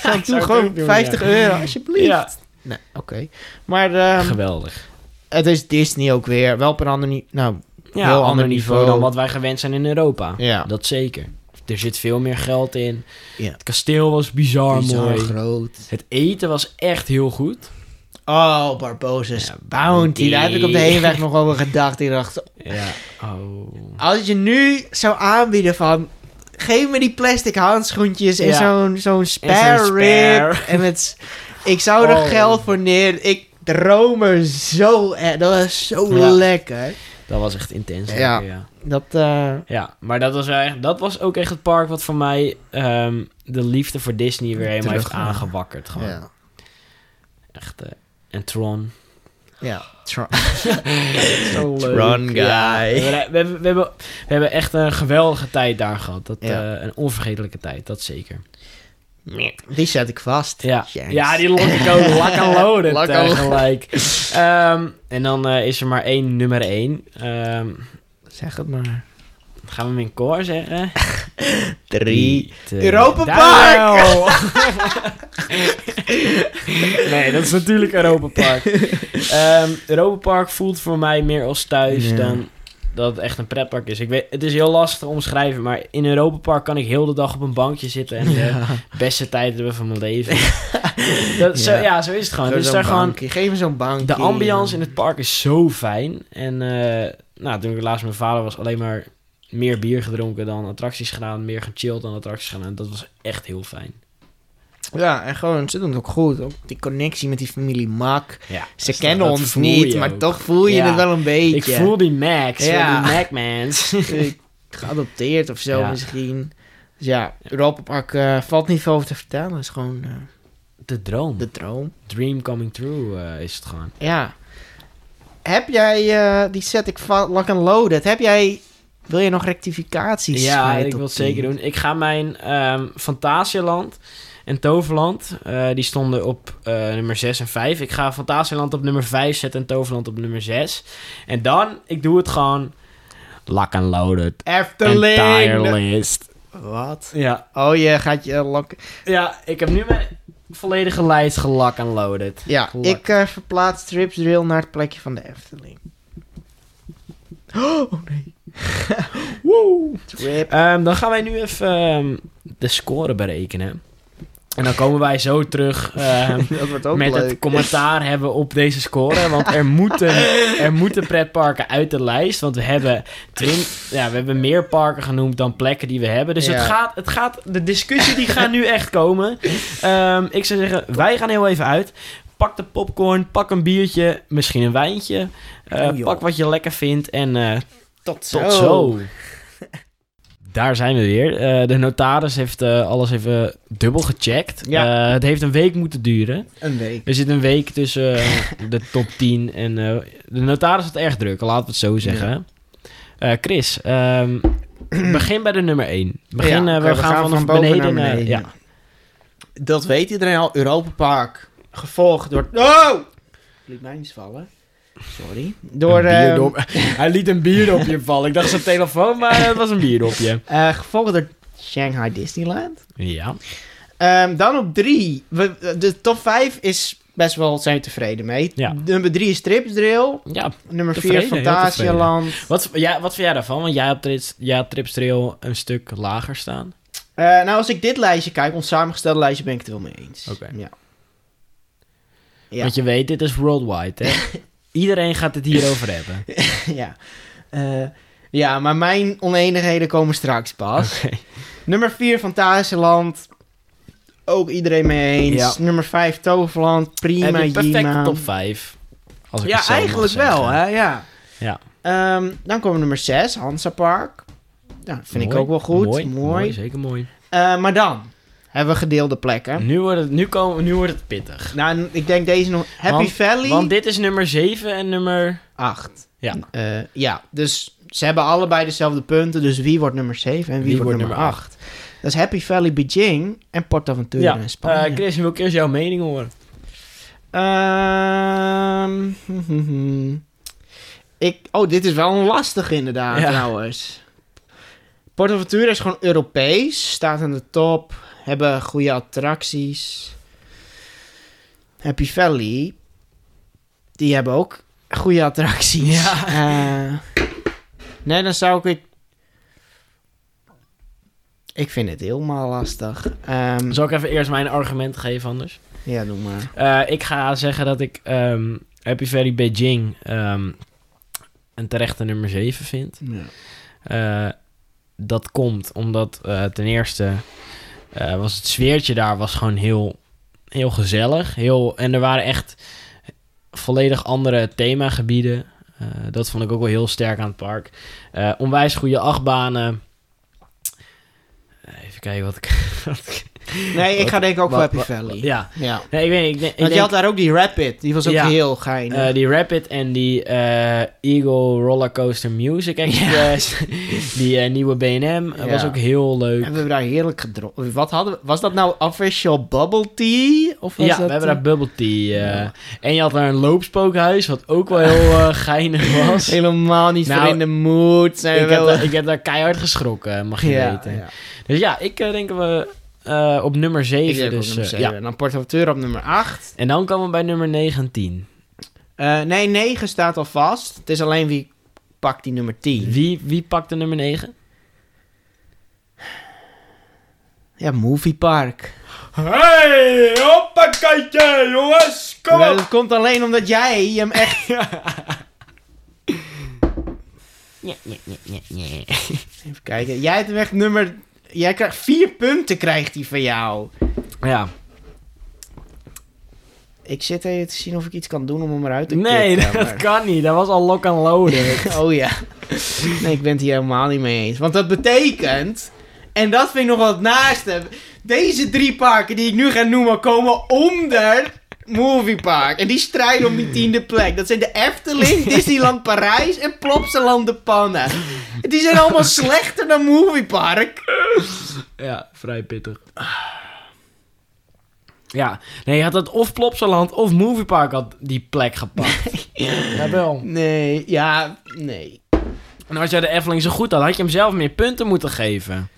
ja,
Ik doe gewoon 50 euro, alsjeblieft.
Ja.
Nee, oké. Maar ehm,
Geweldig.
het is Disney ook weer. Wel op een ander niveau. Nou,
Ja,
Heel
ander,
ander
niveau,
niveau.
dan wat wij gewend zijn in Europa.
ja.
Dat zeker. Er zit veel meer geld in.
Ja.
Het kasteel was bizar,
Bizar
mooi.
groot.
Het eten was echt heel goed.
Oh, Barbosa's
Ja,
Bounty. Daar heb ik op de
Bounty.
heenweg nog over gedacht. Ik dacht,
Ja. Oh.
als je nu zou aanbieden van... Geef me die plastic handschoentjes en
Ja.
zo'n zo'n
En
spare
zo'n
rib.
spare.
En het, ik zou er
Oh.
geld voor neer. Ik droom er zo... eh, Dat was zo
Ja.
lekker.
Dat was echt intens.
Ja.
lekker, ja.
Dat... eh,
Ja, maar dat was, eigenlijk, dat was ook echt het park wat voor mij ehm, de liefde voor Disney weer helemaal
Terug,
heeft
ja.
aangewakkerd. Gewoon.
ja.
Echt, eh, en Tron.
Ja.
Zo leuk.
Run guy.
we, hebben, we, hebben, we hebben- we hebben echt een geweldige tijd daar gehad. Dat,
Ja.
eh, een onvergetelijke tijd, dat zeker.
Die zet ik vast.
Ja,
Shanks.
ja die lok ik ook lekker loaded
Lak
eh,
al-
gelijk. Ehm, en dan eh, is er maar één nummer één. Ehm,
Zeg het maar.
gaan we hem in koor zeggen?
Drie.
twee,
Europa
daar
Park!
wel. nee, dat is natuurlijk Europa Park. Ehm, Europa Park voelt voor mij meer als thuis
Ja.
dan dat het echt een pretpark is. Ik weet, het is heel lastig te omschrijven, eh, oh, maar in Europa Park kan ik heel de dag op een bankje zitten en de beste tijd hebben van mijn leven. Dat, Zo,
Ja.
ja, zo is het gewoon.
Zo
Dus
zo'n
daar gewoon,
bankje. Geef me zo'n bankje.
de ambiance in het park is zo fijn. En eh, nou, toen ik laatst met mijn vader was, alleen maar meer bier gedronken dan attracties gedaan. Meer gechilled dan attracties gedaan. En dat was echt heel fijn.
Ja, en gewoon, ze doen het ook goed. Ook die connectie met die familie Mak.
Ja,
Ze
dus
kennen
dat- dat
ons
voel
niet,
je
maar
ook.
toch voel je
Ja.
het wel een beetje.
Ik voel die Max,
Ja.
ja. die Mac-mans.
Eh, geadopteerd of zo
Ja.
misschien. Dus ja, Europa Park eh, valt niet veel over te vertellen. is gewoon eh,
De droom.
de droom.
dream coming true eh, is het gewoon.
Ja. Heb jij, eh, die set ik va- lak en loaded. Heb jij, wil je nog rectificaties?
Ja,
van je
ik
top
wil het zeker
10?
doen. Ik ga mijn ehm Fantasieland en Toverland, eh, die stonden op eh, nummer 6 en 5. Ik ga Fantasieland op nummer 5 zetten en Toverland op nummer 6. En dan, ik doe het gewoon... Lock and loaded. Entire
Efteling.
list.
Wat?
Ja.
Oh, je gaat je lak...
ja, ik heb nu mijn volledige lijst gelock and loaded.
Ja,
Gelak.
ik eh, verplaats Trips Drill naar het plekje van de Efteling. Oh nee.
Woe!
Trip.
Ehm, dan gaan wij nu even ehm, de score berekenen. En dan komen wij zo terug ehm,
Dat wordt ook
met
leuk.
het commentaar hebben op deze score. Want er moeten, er moeten pretparken uit de lijst. Want we hebben, twin- ja, we hebben meer parken genoemd dan plekken die we hebben. Dus
Ja.
het, gaat, het gaat, de discussie die gaat nu echt komen. Ehm, ik zou zeggen, wij gaan heel even uit. Pak de popcorn, pak een biertje, misschien een wijntje. Eh,
Doe, Oh, joh.
pak wat je lekker vindt en eh,
Tot zo.
tot zo. Daar zijn we weer. Eh, de notaris heeft eh, alles even dubbel gecheckt.
Ja.
Eh, het heeft een week moeten duren.
Een week.
Er zit een week tussen eh, de top 10 en... eh, de notaris had erg druk, laten we het zo zeggen. Eh, Chris, ehm, begin bij de nummer 1. Begin,
Ja,
eh,
oké,
we, gaan van
boven
beneden,
naar
naar
beneden.
ja.
Dat weet iedereen al. Europa Park. Gevolgd door... Oh! Liet mij eens vallen. Sorry. Door...
Een
ehm,
bierdop- Hij liet een bierdopje vallen. Ik dacht zijn telefoon, maar het was een bierdopje.
eh, gevolgd door Shanghai Disneyland.
Ja.
Ehm, dan op drie. We, de top vijf is best wel... Zijn we tevreden mee.
Ja.
Nummer drie is Trips Drill.
ja.
Nummer
Tevreden,
4
heel
Fantasieland.
Wat, ja, wat vind jij daarvan? Want jij hebt Trips, jij hebt Trips Trail een stuk lager staan.
Eh, nou, als ik dit lijstje kijk, ons samengestelde lijstje, ben ik het wel mee eens.
Oké.
Ja. Ja.
Want je weet, dit is worldwide, hè? Iedereen gaat het hierover hebben.
ja. Eh, ja, maar mijn oneenigheden komen straks pas.
Oké.
Nummer 4 Fantasieland. Ook iedereen mee eens.
Ja.
Nummer 5 Toverland. Prima,
Heb je een perfecte
Jima.
top 5. Als ik
Ja,
het zo mag
eigenlijk
zeggen.
wel, hè? Ja.
Ja.
Ehm, dan komen nummer 6, Hansa Park. Ja, vind ik
Mooi,
ook wel goed. Mooi.
Mooi, zeker mooi.
Eh, maar dan hebben we gedeelde plekken.
Nu, wordt het, nu, komen, nu wordt het pittig.
Nou, ik denk deze nog. Happy
Want-
Valley.
Want dit is nummer 7 en nummer...
8.
Ja.
Eh, ja, dus ze hebben allebei dezelfde punten. Dus wie wordt nummer 7 en wie, wordt nummer 8?
acht?
Dat is Happy Valley Beijing en Portaventura
Ja,
en Spanje.
eh Chris, wil ik eerst jouw mening horen?
Ehm, ik, oh, dit is wel een lastige inderdaad
Ja.
trouwens. Portaventura is gewoon Europees. Staat aan de top. Hebben goede attracties. Happy Valley. Die hebben ook goede attracties.
Ja.
Eh, nee, dan zou ik het... Ik vind het helemaal lastig. Ehm,
Zal ik even eerst mijn argument geven anders?
Ja, doe maar.
Eh, ik ga zeggen dat ik ehm, Happy Valley Beijing ehm, een terechte nummer 7 vind.
Ja.
Eh, dat komt omdat eh, ten eerste eh, was het sfeertje daar was gewoon heel, heel gezellig. Heel, en er waren echt volledig andere themagebieden. Eh, dat vond ik ook wel heel sterk aan het park. Eh, onwijs goede achtbanen. Eh, even kijken wat ik... wat ik-
Nee, ik
Wat-
ga denk ik ook
wat-
voor Happy
wat-
Valley.
ja,
Ja.
nee, ik weet niet, Ik, denk- ik
Want je
denk-
had daar ook die Rapid. Die was ook
Ja.
heel geinig.
Eh, die Rapid en die eh, Eagle Rollercoaster Music Express. die eh, nieuwe B&M eh, was
Ja.
ook heel leuk.
hebben we daar heerlijk gedronken. Wat hadden we? Was dat nou official bubble tea? Of was
ja,
dat,
we hebben daar bubble tea. eh,
Ja.
En je had daar een loopspookhuis, wat ook wel heel eh, geinig
eh,
was. ik,
helemaal niet
Nou,
voor in de mood. Zijn we
heb
wel... eh.
daar, ik heb daar keihard geschrokken, mag je
ja,
weten.
ja.
Dus ja, ik eh, denk dat we eh, op nummer
Ik
7.
denk
Dus,
ook nummer
eh,
7.
ja.
En dan Portaventura op nummer 8.
En dan komen we bij nummer 19.
Eh, nee, 9 staat al vast. Het is alleen wie pakt die nummer 10.
Wie, wie pakt de nummer 9?
Ja, Movie Park.
Hey, hoppakee, jongens,
Maar dat komt alleen omdat jij hem echt...
Nee, nee, nee, nee, nee.
Even kijken. Jij hebt hem echt nummer... Jij krijgt vier punten krijgt hij van jou.
Ja.
Ik zit even te zien of ik iets kan doen om hem eruit te
Nee,
kicken,
dat
maar-
kan niet. Dat was al lock and loaded.
Oh ja. Nee, ik ben het hier helemaal niet mee eens. Want dat betekent... En dat vind ik nog wel het naaste. Deze drie parken die ik nu ga noemen komen onder Movie Park. En die strijden om die tiende plek. Dat zijn de Efteling, Disneyland Parijs en Plopsaland de Pannen. Die zijn allemaal slechter dan Movie Park.
Ja, vrij pittig. Ja, nee, je had het of Plopsaland of Moviepark had die plek gepakt. Jawel.
Nee, ja, nee.
En als jij de Efteling zo goed had, had je hem zelf meer punten moeten geven.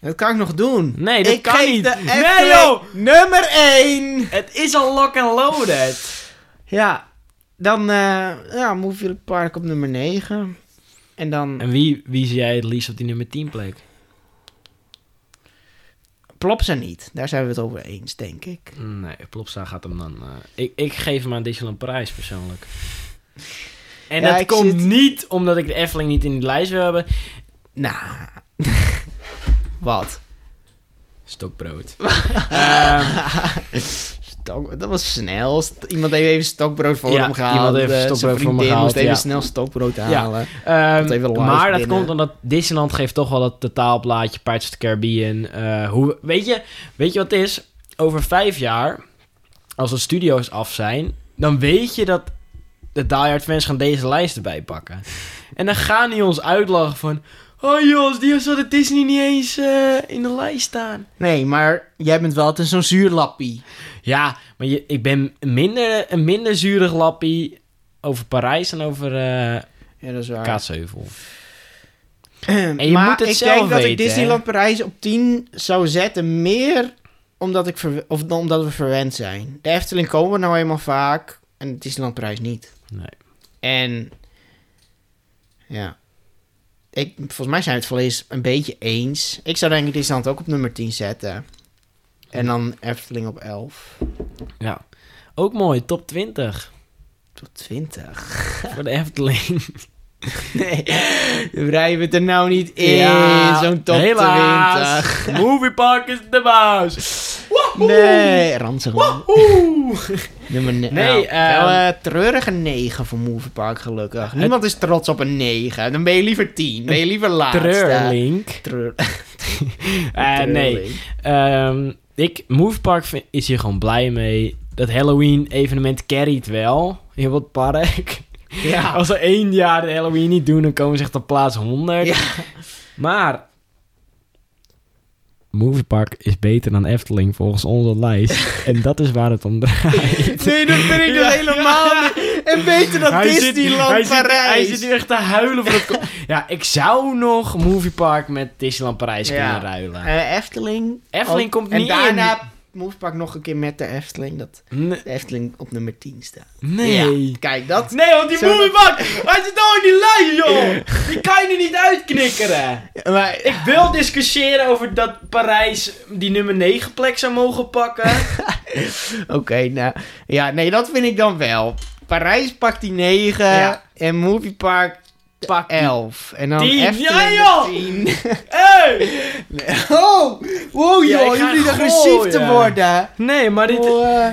Dat kan ik nog doen.
Nee, dat
ik
kan
geef
niet.
de
Nee,
Efteling
joh!
nummer 1.
Het is al lock and loaded.
Ja, dan eh ja, Movie Park op nummer 9. En dan
En wie, wie zie jij het liefst op die nummer 10 plek?
Plopsa niet. Daar zijn we het over eens, denk ik.
Nee, Plopsa gaat hem dan... eh, ik, ik geef hem aan Disneyland Parijs persoonlijk. En
Ja,
dat
ik
komt
zit-
niet omdat ik de Efteling niet in die lijst wil hebben.
Nou, wat?
Stokbrood. Ehm,
Stok, dat was snel. St- iemand heeft even stokbrood voor
Ja,
hem gehaald.
iemand heeft
Eh, zijn
stokbrood voor me
vriendin
gehaald,
moest even
ja.
snel stokbrood halen.
Ehm,
Komt even live
maar dat
binnen.
komt omdat Disneyland geeft toch wel dat totaalplaatje Pirates of the Caribbean. eh, hoe, weet, je, weet je wat het is? Over vijf jaar, als de studio's af zijn, dan weet je dat de Die Hard fans gaan deze lijst erbij pakken. En dan gaan die ons uitlachen van... Oh jongens, die had het Disney niet eens eh, in de lijst staan.
Nee, maar jij bent wel altijd zo'n zuurlappie.
Ja, maar je, ik ben minder, een minder zuurig lappie over Parijs dan over eh
Ja, dat is waar.
Kaatsheuvel.
en
je moet het
ik
zelf
denk dat ik
weten, hè?
Disneyland Parijs op 10 zou zetten. Meer omdat, ik verwe- of dan omdat we verwend zijn. De Efteling komen we nou eenmaal vaak. En Disneyland Parijs niet.
Nee.
En ja. Ik, volgens mij zijn we het volledig een beetje eens. Ik zou denk ik Disneyland ook op nummer 10 zetten. En dan Efteling op 11.
Ja. Ook mooi, top 20
Tot 20.
voor de Efteling.
Nee, we rijden het er nou niet in. Zo'n top 20.
helaas. Moviepark is de baas.
Nee, ranzig. man. Nummer 9.
Nee,
Nee,
ehm,
eh, treurige 9 voor Movie Park, gelukkig. Niemand is trots op een 9. Dan ben je liever 10. Ben je liever laatste.
Treurlink.
Treur.
Eh, nee,
Treurling.
Ehm, ik, Moviepark vind- is hier gewoon blij mee. Dat Halloween evenement carryt wel. Heel wat park.
Ja.
Als ze één jaar de Halloween niet doen, dan komen ze echt op plaats 100.
Ja.
Maar... Moviepark is beter dan Efteling volgens onze lijst. en dat is waar het om draait.
Nee, dat vind ik
Ja,
dus helemaal
ja.
niet. En beter dan Disneyland
hij zit- hij
Parijs.
zit nu echt te huilen voor dat... ko- ja, ik zou nog Movie Park met Disneyland Parijs
Ja.
kunnen ruilen.
Eh, Efteling.
Efteling
Ook-
komt
en
niet
En daarna Movie Park nog een keer met de Efteling. Dat
N-
de Efteling op nummer 10 staat.
nee.
Ja, kijk, dat...
Nee, want die
Zo-
Movie Park, hij zit al in die lijn, joh. Die kan je er niet uitknikkeren.
Maar,
Ik wil discussiëren over dat Parijs die nummer 9 plek zou mogen pakken.
Oké, nou. Ja, nee, dat vind ik dan wel. Parijs pakt die 9
Ja.
en Movie Park pakt 11. En dan
10. Ja,
Efteling de
joh!
10.
Hey!
Oh, wow
Ja,
joh,
ik
je
ga
hoeft niet
gooien.
agressief te worden.
Nee, maar dit,
Oh,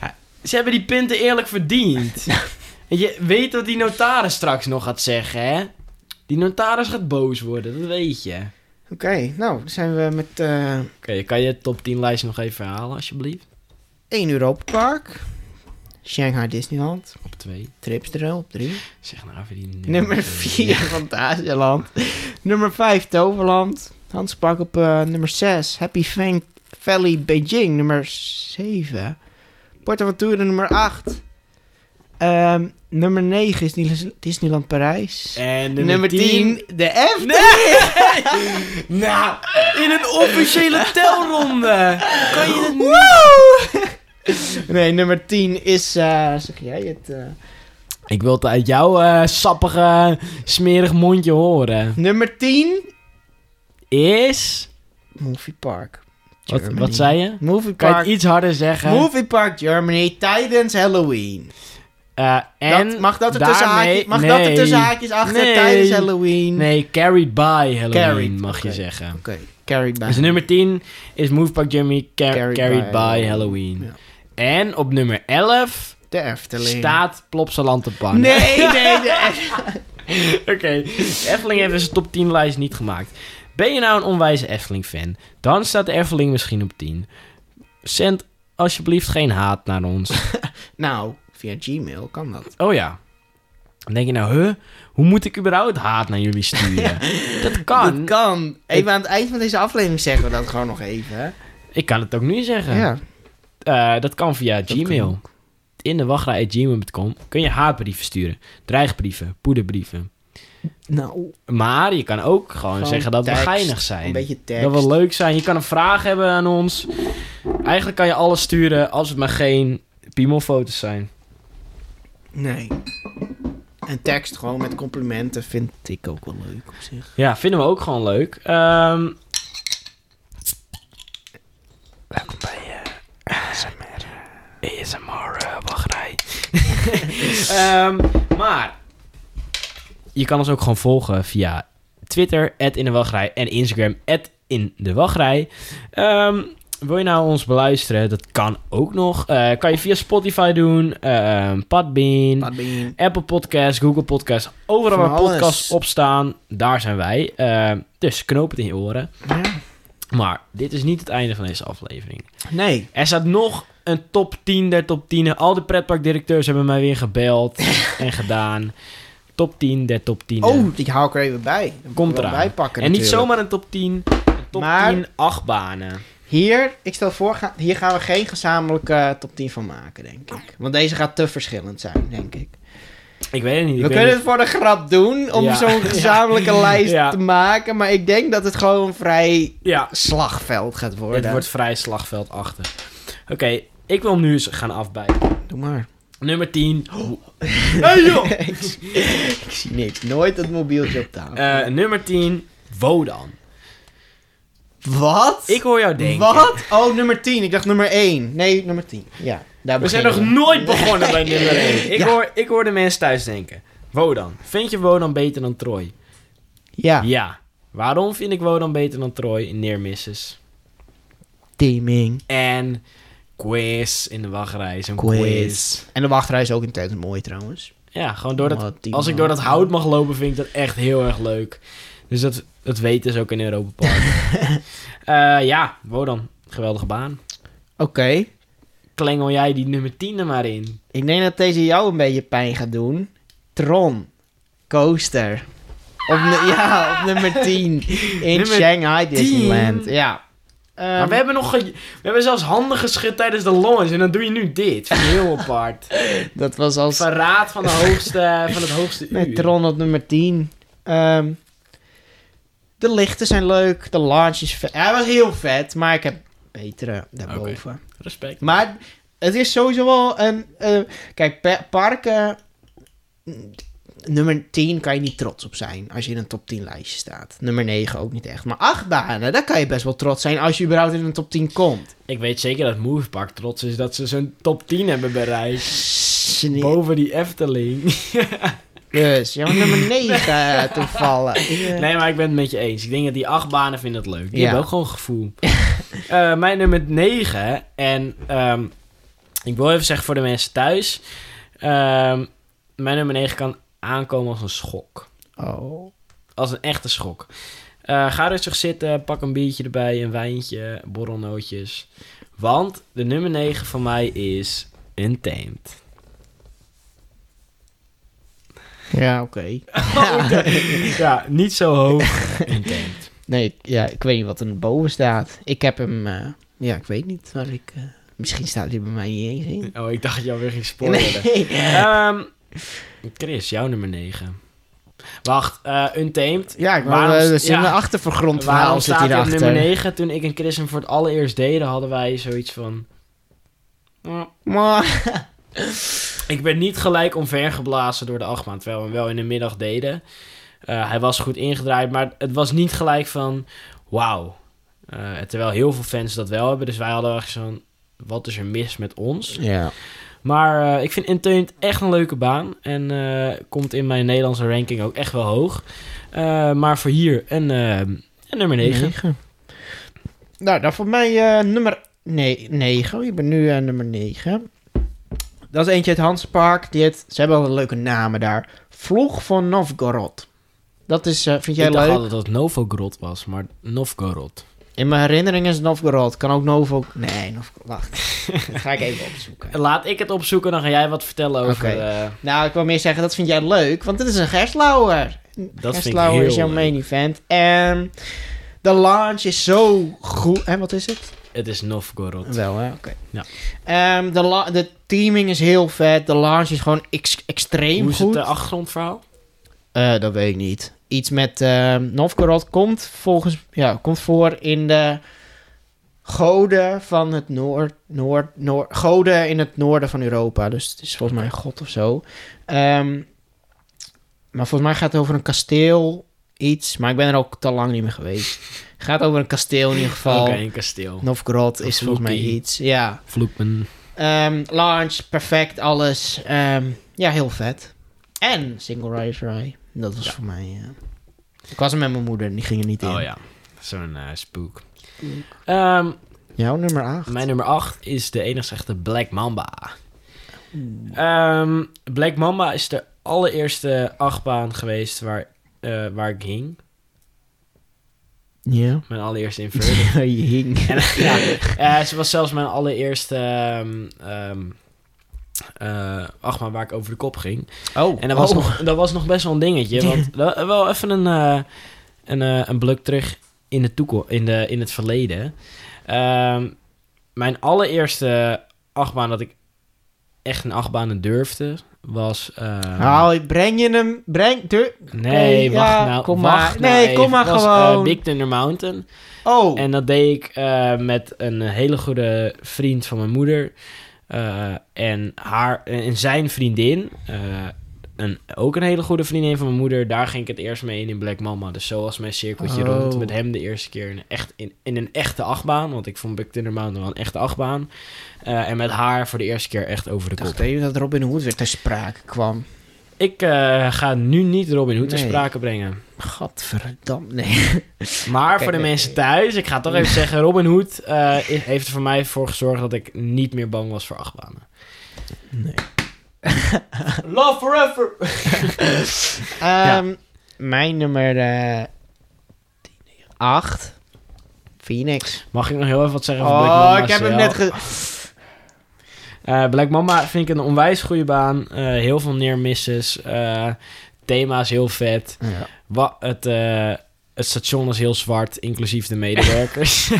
eh,
ze hebben die punten eerlijk verdiend. En je weet wat die notaris straks nog gaat zeggen, hè? Die notaris gaat boos worden, dat weet je. Oké,
Oké, nou, dan zijn we met eh
kan je top 10 lijst nog even herhalen, alsjeblieft?
1 Europa Park, Shanghai Disneyland,
Op 2.
Tripsdrill op 3,
Zeg nou even die
nummer 4 Fantasieland, nummer 5 Toverland, Hans Park op eh, nummer 6, Happy Fang Valley Beijing nummer 7, Porto Ventura nummer 8, Ehm, nummer 9 is Disney- Disneyland Parijs,
En nummer,
nummer 10 de Efteling.
Nou, in een officiële telronde. Kan je het
Nee, nummer 10 is, eh, zeg jij het? eh,
Ik wil het uit jouw eh, sappige, smerig mondje horen.
nummer 10,
Is...
Movie Park.
Wat,
Germany.
wat zei je?
Movie
Kan je het
Park,
iets harder zeggen?
Movie Park Germany tijdens Halloween.
Eh, en
dat, mag dat er tussen
daarmee-
haakjes, mag dat
nee.
er tussen haakjes achter
Nee.
tijdens Halloween?
Nee, carried by Halloween
Carried,
mag je
oké.
zeggen.
Oké, carried by.
Dus nummer 10 is Move Park Jimmy Car-
Carried
carried,
by
by,
Halloween.
Halloween.
Ja.
En op nummer 11
de Efteling.
staat Plopsaland te pakken.
Nee, nee, de
Oké, de Efteling heeft zijn top 10 lijst niet gemaakt. Ben je nou een onwijze Efteling-fan? Dan staat de Efteling misschien op 10. Zend alsjeblieft geen haat naar ons.
Nou, via Gmail kan dat.
Oh ja. Dan denk je nou, huh? Hoe moet ik überhaupt haat naar jullie sturen? Dat kan.
Dat kan. Even aan het eind van deze aflevering zeggen we dat gewoon nog even. hè?
Ik kan het ook nu zeggen.
Ja.
Eh, dat kan via
kan
Gmail. In de wachtrij.gmail.com kun je haatbrieven sturen. Dreigbrieven, poederbrieven.
Nou,
Maar je kan ook gewoon,
Gewoon
zeggen dat
tekst,
we geinig zijn.
een beetje tekst.
Dat wil leuk zijn. Je kan een vraag hebben aan ons. Eigenlijk kan je alles sturen als het maar geen piemelfoto's zijn.
Nee. En tekst gewoon met complimenten vind ik ook wel leuk op zich.
Ja, vinden we ook gewoon leuk. Ehm,
Welkom bij
eh,
ASMR.
ASMR eh, wachtrij. Ehm, maar je kan ons ook gewoon volgen via Twitter, in de wachtrij, en Instagram, in de wachtrij. Ehm, wil je nou ons beluisteren? Dat kan ook nog. Eh, kan je via Spotify doen, ehm Podbean,
Padbeen.
Apple Podcast, Google Podcast. Overal
Van
waar
alles.
podcasts op staan, daar zijn wij. Ehm, dus knoop het in je oren.
Ja.
Maar dit is niet het einde van deze aflevering.
Nee.
Er staat nog een top 10 der top 10. Al de pretparkdirecteurs hebben mij weer gebeld en gedaan. Top 10 der top 10.
Oh, die hou ik er even bij. Dan moet ik
Komt
er wel
eraan.
bij pakken
en niet
natuurlijk.
zomaar een top 10. Een top
Maar-
10 achtbanen.
Hier, ik stel voor, ga- hier gaan we geen gezamenlijke eh, top 10 van maken, denk ik. Want deze gaat te verschillend zijn, denk ik.
Ik weet het niet.
we
ik
kunnen
weet
het voor de grap doen, om
Ja.
zo'n
Ja.
gezamenlijke lijst
Ja.
te maken. Maar ik denk dat het gewoon een vrij
niet. Ja,
slagveld gaat worden.
het wordt vrij slagveldachtig. Oké, ik wil hem nu eens gaan afbijten.
Doe maar.
Nummer 10. Hey, joh!
Ik zie niks. Nooit het mobieltje op tafel.
Eh, nummer 10. Wodan.
Wat?
Ik hoor jou denken.
Wat? Oh, nummer 10. Ik dacht nummer 1. Nee, nummer 10. Ja, daar
We zijn nog
beginnen
nooit begonnen bij nummer 1. Ik,
Ja.
hoor, ik hoor de mensen thuis denken. Wodan. Vind je Wodan beter dan Troy?
Ja.
Ja. Waarom vind ik Wodan beter dan Troy in Near Misses?
Teaming.
En quiz in de wachtrij. is Een quiz.
Quiz. En de wachtrij is ook intens mooi trouwens.
Ja, gewoon door dat...
Wat die
Als ik
man.
door dat hout mag lopen, vind ik dat echt heel erg leuk. Dus dat, dat weten ze ook in Europa Park. Eh, ja, Wodan. Geweldige baan.
Oké.
Klengel jij die nummer 10 er maar in.
Ik denk dat deze jou een beetje pijn gaat doen. Tron. Coaster. Op nu- ja, op nummer 10. In
Ah. Nummer
Shanghai
10?
Disneyland. Ja.
Maar
Ehm,
Eh, we hebben nog... ge- We hebben zelfs handen geschud tijdens de launch. En dan doe je nu dit. Vind ik heel apart.
Dat was als...
Verraad van, de hoogste, van het hoogste uur.
Met Tron op nummer 10. Ehm, de lichten zijn leuk. De launch is vet. Hij was heel vet, maar ik heb betere daarboven.
Respect.
Maar het is sowieso wel een... eh, kijk, pa- parken... mm, Nummer 10 kan je niet trots op zijn als je in een top 10 lijstje staat. Nummer 9 ook niet echt. Maar achtbanen, daar kan je best wel trots zijn als je überhaupt in een top 10 komt.
Ik weet zeker dat Movepark trots is dat ze zo'n top 10 hebben bereikt. Boven die Efteling.
Dus, ja, maar nummer 9 toevallig.
Nee, maar ik ben het met je eens. Ik denk dat die acht banen vinden het leuk. Die
Ja.
hebben ook gewoon gevoel. Eh, mijn nummer 9. En ehm, ik wil even zeggen voor de mensen thuis. ehm, mijn nummer 9 kan aankomen als een schok.
Oh.
Als een echte schok. Eh, ga rustig zitten, pak een biertje erbij, een wijntje, borrelnootjes. Want de nummer 9 van mij is Untamed.
Ja, Oh, oké.
ja, niet zo hoog. Untamed.
Nee, ik- ja, ik weet niet wat er boven staat. Ik heb hem... eh, ja, ik weet niet waar ik... eh, misschien staat hij bij mij niet eens in.
Oh, ik dacht dat je alweer ging spoileren.
Nee.
Ehm, Chris, jouw nummer 9. Wacht, eh Untamed.
Ja, ik
Waarom-
waarom, er zit
ja.
een achtergrondverhaal
Waarom
zit
staat hij op
hierachter.
nummer 9? Toen ik en Chris hem voor het allereerst deden, hadden wij zoiets van... "Nou,
Maar,
Ik ben niet gelijk omvergeblazen door de achtbaan, terwijl we hem wel in de middag deden. Eh, hij was goed ingedraaid, maar het was niet gelijk van... Wauw, Eh, terwijl heel veel fans dat wel hebben. Dus wij hadden echt zo'n... Wat is er mis met ons?
Ja.
Maar eh, ik vind Entertainment echt een leuke baan. En eh, komt in mijn Nederlandse ranking ook echt wel hoog. Eh, maar voor hier een, eh, een nummer 9.
Nou, dan voor mij eh, nummer 9. ik ben nu eh, nummer 9. Dat is eentje uit Hanspark. Die heet, ze hebben wel leuke namen daar. Vlog van Novgorod. Dat is, eh, vind jij
ik dacht
leuk?
altijd dat het Novogorod was, maar Novgorod.
In mijn herinnering is het Novgorod. Kan ook Novo... Nee, Novgorod. Wacht. dat ga ik even opzoeken.
Laat ik het opzoeken, dan ga jij wat vertellen over...
Oké.
eh,
Nou, ik wil meer zeggen, dat vind jij leuk, want dit is een Gerstlauer.
dat vind ik
Gerstlauer
heel
is jouw
leuk.
main event. En de launch is zo goed. En wat is het?
Het is Novgorod.
Wel, hè? Oké.
Ja.
Ehm, de, la- de teaming is heel vet. De launch is gewoon ex- extreem
Hoe is
goed.
het eh, achtergrondverhaal?
Eh, dat weet ik niet. Iets met ehm Novgorod komt volgens ja, komt voor in de goden van het noord, noord, noord, goden in het noorden van Europa. Dus het is volgens mij een god of zo. Ehm, maar volgens mij gaat het over een kasteel, iets. Maar ik ben er ook te lang niet meer geweest. Het gaat over een kasteel in ieder
Oké,
geval.
een kasteel.
Novgorod
Een
is volgens mij
vloekie.
iets. Ja.
Vloekman.
Ehm, launch, perfect, alles. Ehm, ja, heel vet. En Single Rise Rye. Dat was voor mij... eh, ja. Ik was er met mijn moeder en die ging er niet in.
Oh ja, zo'n eh, spook. Ehm,
Jouw nummer 8.
mijn nummer 8 is de enigste echte Black Mamba. Ehm, Black Mamba is de allereerste achtbaan geweest waar, eh, waar ik hing.
Ja.
Mijn allereerste inverter.
je hing.
en, ja, eh, ze was zelfs mijn allereerste ehm ehm, eh, achtbaan waar ik over de kop ging.
Oh.
En dat was,
oh.
nog, dat was nog best wel een dingetje. Want wel- wel even een, eh, een, eh, een blik terug in, de toekomst, in, de, in het verleden. Ehm, mijn allereerste achtbaan dat ik echt een achtbaan durfde, was... ehm,
Nou, breng je hem... Breng... Dur,
nee,
oké,
wacht
ja,
nou.
kom
wacht
maar.
nou
Nee,
even.
kom maar
Het was, eh,
gewoon.
Big Thunder Mountain.
oh.
En dat deed ik eh, met een hele goede vriend van mijn moeder. eh, en, haar, en zijn vriendin. eh, een, ook een hele goede vriendin van mijn moeder. Daar ging ik het eerst mee in in Black Mama. Dus zo was mijn cirkeltje
Oh.
rond. Met hem de eerste keer in, een echt, in, in een echte achtbaan. Want ik vond Big Thunder Mountain wel een echte achtbaan. Eh, en met haar voor de eerste keer echt over de
ik dacht
kop.
even dat Robin Hood weer ter sprake kwam.
Ik eh, ga nu niet Robin Hood ter
Nee.
sprake brengen.
Gadverdamme. Nee.
Maar
Kijk,
voor de
nee.
mensen thuis, ik ga toch even zeggen: Robin Hood eh, heeft er voor mij voor gezorgd dat ik niet meer bang was voor achtbanen.
Nee.
Love forever!
Ehm, Mijn nummer... eh, 8. Phoenix.
Mag ik nog heel even wat zeggen over Black
Oh,
Mamba?
ik heb hem
zelf?
net ge...
Eh, Black Mamba vind ik een onwijs goede baan. Eh, heel veel neermisses. eh thema is heel vet. Wa- het, eh, het station is heel zwart, inclusief de medewerkers.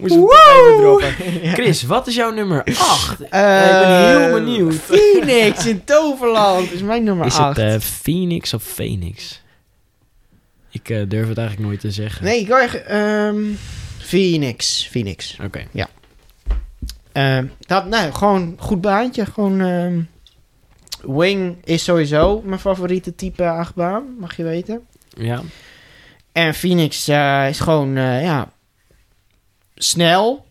Moest ik toch even droppen. Chris, wat is jouw nummer 8?
Eh,
ik ben heel benieuwd.
Phoenix in Toverland is mijn nummer
Is
8.
het eh, Phoenix of Phoenix? Ik eh, durf het eigenlijk nooit te zeggen.
nee, ik wil echt... ehm, Phoenix. Phoenix.
Oké.
Ehm, dat, nou, gewoon goed baantje. Gewoon... ehm, Wing is sowieso mijn favoriete type achtbaan, mag je weten.
Ja.
En Phoenix eh, is gewoon, eh, ja... Snel.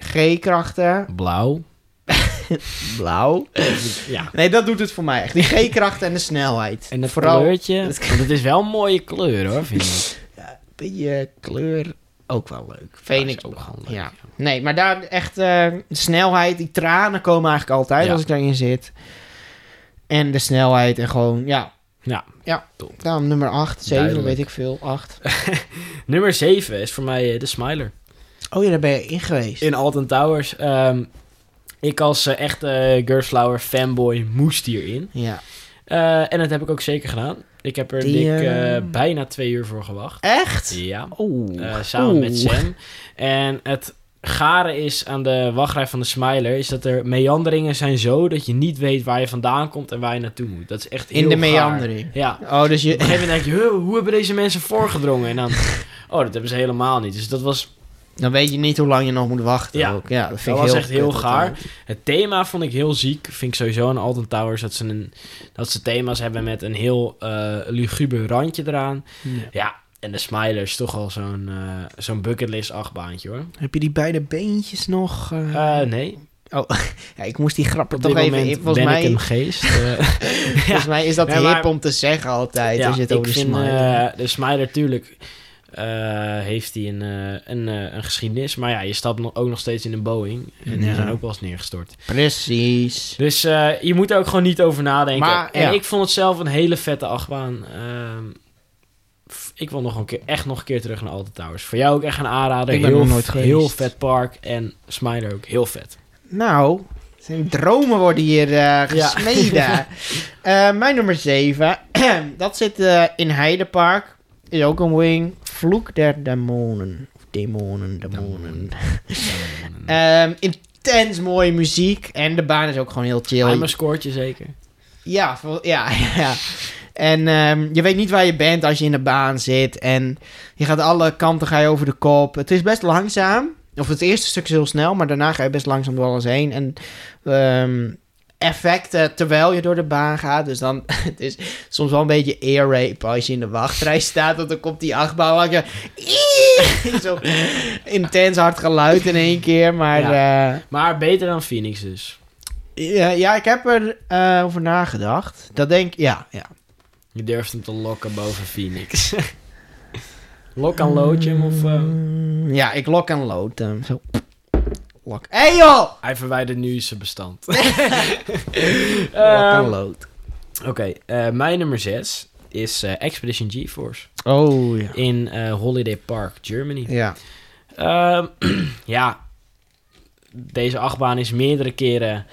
G-krachten.
Blauw.
Blauw.
Ja.
Nee, dat doet het voor mij echt. Die G-krachten en de snelheid.
En het
Vooral-
kleurtje.
het-
Want het is wel een mooie kleur hoor, vind ik.
Die eh, kleur ook wel leuk. Phoenix
is ook
ook
wel
wel
leuk,
Ja. Nee, maar daar echt eh, de snelheid, die tranen komen eigenlijk altijd
Ja.
als ik daarin zit. En de snelheid en gewoon, ja.
Ja.
Ja,
Top.
daarom nummer 8, 7,
Duidelijk.
weet ik veel, 8.
Nummer 7 is voor mij eh, de Smiler.
Oh ja, daar ben je in geweest.
In Alton Towers. ehm, ik als eh, echte Girlflower fanboy moest hierin.
Ja.
Eh, en dat heb ik ook zeker gedaan. Ik heb er
Die,
dik
eh,
eh, bijna twee uur voor gewacht.
Echt?
Ja.
Oeh.
Eh, samen met
Oeh.
Sam. En het gare is aan de wachtrij van de Smiler... is dat er meanderingen zijn zo... dat je niet weet waar je vandaan komt en waar je naartoe moet. Dat is echt heel
In de
gaar.
meandering.
Ja. Op
Oh, dus
een gegeven
je...
moment denk je... "Huh, hoe hebben deze mensen voorgedrongen? En dan... Oh, dat hebben ze helemaal niet. Dus dat was...
Dan weet je niet hoe lang je nog moet wachten.
Ja.
ook. ja dat,
Dat
vind ik
was
heel
echt heel
kut
gaar.
altijd.
Het thema vond ik heel ziek. Vind ik sowieso aan Alton Towers dat ze, een, dat ze thema's hebben met een heel eh luguber randje eraan.
Ja.
Ja, En de Smiler is toch al zo'n eh, zo'n bucketlist achtbaantje hoor.
Heb je die beide beentjes nog? eh?
Eh, nee,
ja, ik moest die grap er
op
toch
dit
even
moment
in. Volgens
ben
mij,
ik een geest. Eh,
volgens mij is dat
Nee,
hip
maar-
om te zeggen altijd.
ja,
is het
ik
over de
vind
smile.
eh, de Smiler tuurlijk eh, heeft hij een, eh, een, eh, een geschiedenis. Maar ja, je stapt nog- ook nog steeds in een Boeing. En die
Ja.
zijn ook wel eens neergestort.
Precies.
Dus eh, je moet er ook gewoon niet over nadenken.
Maar,
en
ja.
ik vond het zelf een hele vette achtbaan. Ehm, f- ik wil nog een keer, echt nog een keer terug naar Alta Towers. Voor jou ook echt een aanrader.
Ik ben
heel,
nog nooit
f-
geweest.
heel vet park. En Smiler ook heel vet.
Nou, zijn dromen worden hier eh, gesmeden. Eh, mijn nummer 7. dat zit eh, in Heidepark. Is ook een wing. Vloek der demonen. Of demonen, demonen. Ehm, intens mooie muziek. En de baan is ook gewoon heel chill.
Aan mijn scoortje zeker.
Ja, vol- ja, ja. En ehm, je weet niet waar je bent als je in de baan zit. En je gaat alle kanten ga je over de kop. Het is best langzaam. Of het eerste stuk is heel snel, maar daarna ga je best langzaam door alles heen. En ehm, effecten terwijl je door de baan gaat. Dus dan het is soms wel een beetje air rape als je in de wachtrij staat. Want dan komt die achtbaan langs je. Zo intens hard geluid in één keer. Maar eh,
Maar beter dan Phoenix dus.
ja, ja, ik heb er eh, over nagedacht. Dat denk ja, ja.
Je durft hem te lokken boven Phoenix. Lok aan loodje hem of... eh,
Mm, Ja, ik lok en lood hem. Zo. Lok. Hé hey joh!
Hij verwijdert nu zijn bestand. Eh,
Lok en
Ehm,
lood.
Oké, eh, mijn nummer 6 is eh, Expedition GeForce
Oh ja.
in eh, Holiday Park, Germany.
Ja.
Ehm, ja, deze achtbaan is meerdere keren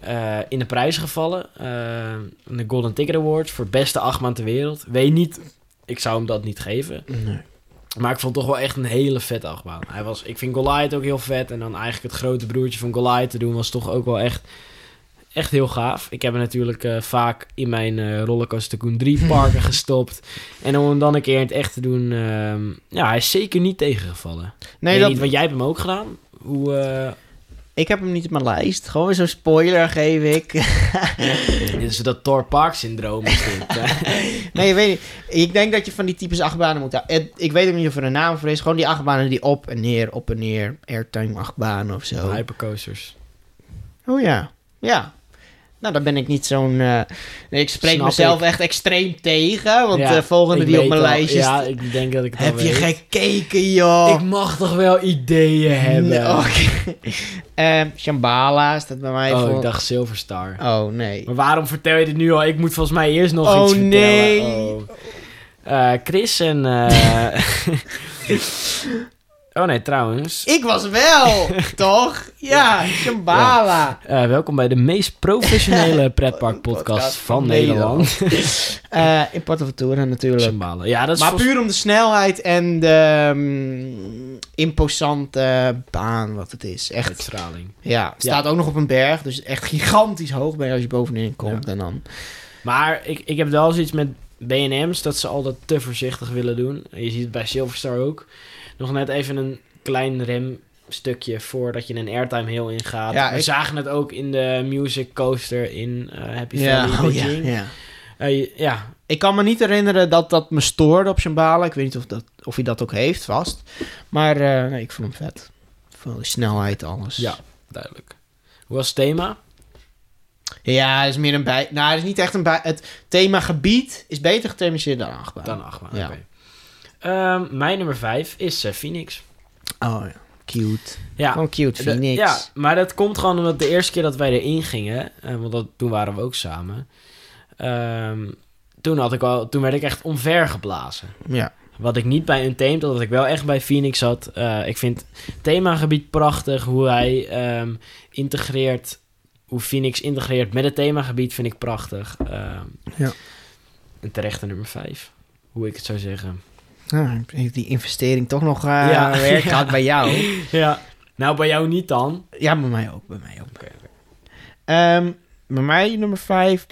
eh, in de prijs gevallen. Ehm, in de Golden Ticket Awards voor beste achtbaan ter wereld. Weet niet, ik zou hem dat niet geven.
Nee.
Maar ik vond het toch wel echt een hele vette achtbaan. Hij was, ik vind Goliath ook heel vet. En dan eigenlijk het grote broertje van Goliath te doen was toch ook wel echt, echt heel gaaf. Ik heb hem natuurlijk eh, vaak in mijn eh Rollercoaster Tycoon 3 parken gestopt. En om hem dan een keer in het echt te doen... ehm, ja, hij is zeker niet tegengevallen.
Nee,
Weet
dat,
niet, want jij hebt hem ook gedaan. Hoe, eh,
ik heb hem niet op mijn lijst. Gewoon weer zo'n spoiler geef ik.
dit is dat Thor Park syndroom is dit.
nee, ik weet niet. Ik denk dat je van die types achtbanen moet houden. Het- Ik weet ook niet of er een naam voor is. Gewoon die achtbanen die op en neer, op en neer. Airtime achtbanen of zo.
Hypercoasters.
Oh ja. Ja. Nou, daar ben ik niet zo'n... eh, nee, ik spreek
Snap
mezelf echt extreem tegen. Want
Ja,
de volgende
ik
die op
weet
mijn
al.
lijstje
Ja,
staat-
ik denk dat ik het al
Heb je
weet.
gekeken, joh?
Ik mag toch wel ideeën hebben?
Nee, Oh. oké. Ehm, Shambhala staat bij mij
Oh,
voor.
ik dacht Silver Star.
Oh, nee.
Maar waarom vertel je dit nu al? Ik moet volgens mij eerst nog
Oh,
iets vertellen.
nee.
Oh. Eh, Chris en... eh, oh nee, trouwens.
Ik was wel, toch? Ja, Shambhala.
Eh, welkom bij de meest professionele pretparkpodcast
Podcast
van
van
Nederland.
Eh, in Porto Ventura natuurlijk.
Cymbalen. Ja, dat is
Maar
volgens-
puur om de snelheid en de mm, imposante baan wat het is.
Met
Echt,
straling.
ja. Staat ook nog op een berg, dus echt gigantisch hoog ben je als je bovenin komt. En dan...
Maar ik, ik heb wel zoiets met B&M's dat ze altijd te voorzichtig willen doen. Je ziet het bij Silverstar ook. Nog net even een klein remstukje voordat je een airtime heel ingaat.
Ja,
We
ik-
zagen het ook in de music coaster in eh, Happy
Ja,
Valley
oh, ja,
Beijing.
ja.
Eh, je- ja,
Ik kan me niet herinneren dat dat me stoorde op Shambhala. Ik weet niet of, dat, of hij dat ook heeft, vast. Maar eh, nee, ik vond hem vet. Van die snelheid, alles.
Ja. duidelijk. Hoe was het thema?
Ja, het is meer een bij... Nou, het is niet echt een bij... Het thema gebied is beter getermineerd dan achtbaan.
Dan achtbaan.
Ja.
oké. Ehm, mijn nummer 5 is eh, Phoenix.
Oh ja, cute.
Ja,
Gewoon cute,
De-
Phoenix.
Ja, maar dat komt gewoon omdat de eerste keer dat wij erin gingen, eh, want dat, toen waren we ook samen. ehm, toen, had ik al, toen werd ik echt omver geblazen.
ja.
Wat ik niet bij Untamed had, wat ik wel echt bij Phoenix had. Eh, ik vind het themagebied prachtig. Hoe hij ehm, integreert, hoe Phoenix integreert met het themagebied vind ik prachtig. Ehm,
Ja.
En terecht een nummer 5, hoe ik het zou zeggen.
Nou, heeft die investering toch nog eh
Ja.
werk gehad bij jou.
Ja. Nou, bij jou niet dan.
Ja, bij mij ook, bij mij ook.
Oké.
Ehm, bij mij nummer 5.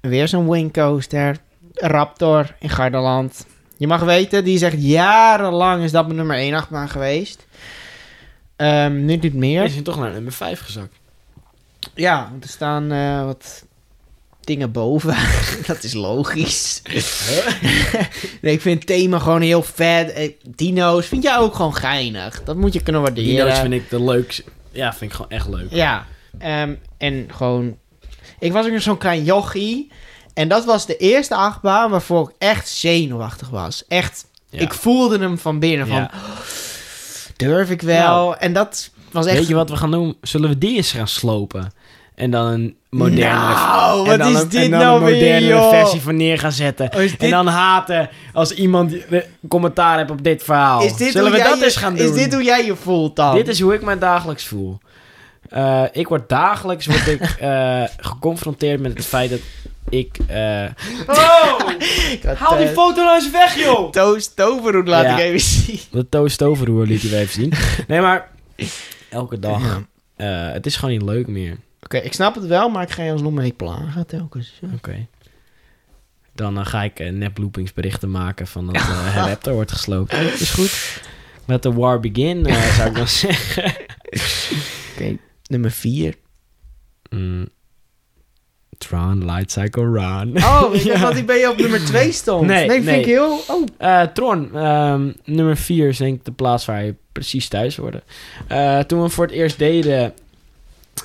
Weer zo'n wingcoaster. Raptor in Gardaland. Je mag weten, die zegt jarenlang is dat mijn nummer 1 achtbaan geweest. Ehm, nu niet meer.
Is hij toch naar nummer 5 gezakt?
Ja, want er staan eh, wat dingen boven. dat is logisch. nee, ik vind thema gewoon heel vet. Eh, Dino's vind jij ook gewoon geinig. Dat moet je kunnen waarderen.
Dino's vind ik de leukste. Ja, vind ik gewoon echt leuk.
Ja, ehm, en gewoon... Ik was ook nog zo'n klein jochie. En dat was de eerste achtbaan waarvoor ik echt zenuwachtig was. Echt,
Ja.
ik voelde hem van binnen.
Ja. Nou,
Van, durf ik wel? En dat was echt...
Weet je wat we gaan doen? Zullen we die eens gaan slopen? En dan een modernere,
Nou,
en
wat
dan
is
een,
dit
en dan
nou
een
weer,
modernere
joh?
versie van neer gaan zetten.
Oh, is dit-
En dan haten als iemand die- eh, commentaar heeft op dit verhaal.
Is dit
Zullen
hoe
we
jij
dat
je-
eens gaan doen?
Is dit hoe jij je voelt dan?
Dit is hoe ik mij dagelijks voel. Eh, ik word dagelijks word ik, eh, geconfronteerd met het feit dat ik... eh,
Oh! Ik had,
haal die
eh,
foto nou eens weg, joh!
Toast Toverhoed laat
Ja.
ik even zien.
De toast overroer liet hij weer even zien. Nee, maar elke dag. eh, het is gewoon niet leuk meer.
Oké, ik snap het wel, maar ik ga je alsnog mee plagen telkens. Ja.
Oké. Dan eh, ga ik eh, nep loopingsberichten maken van dat eh Raptor wordt gesloopt. Is goed. Let the war begin, eh, zou ik dan zeggen.
Oké, nummer 4.
Mm. Tron, Light Cycle Run.
Oh, ik dacht dat die bij je op nummer 2 stond.
Nee, nee.
vind ik heel... Oh,
Eh, Tron, ehm, nummer 4 is denk ik de plaats waar je precies thuis hoorde. Eh, toen we hem voor het eerst deden,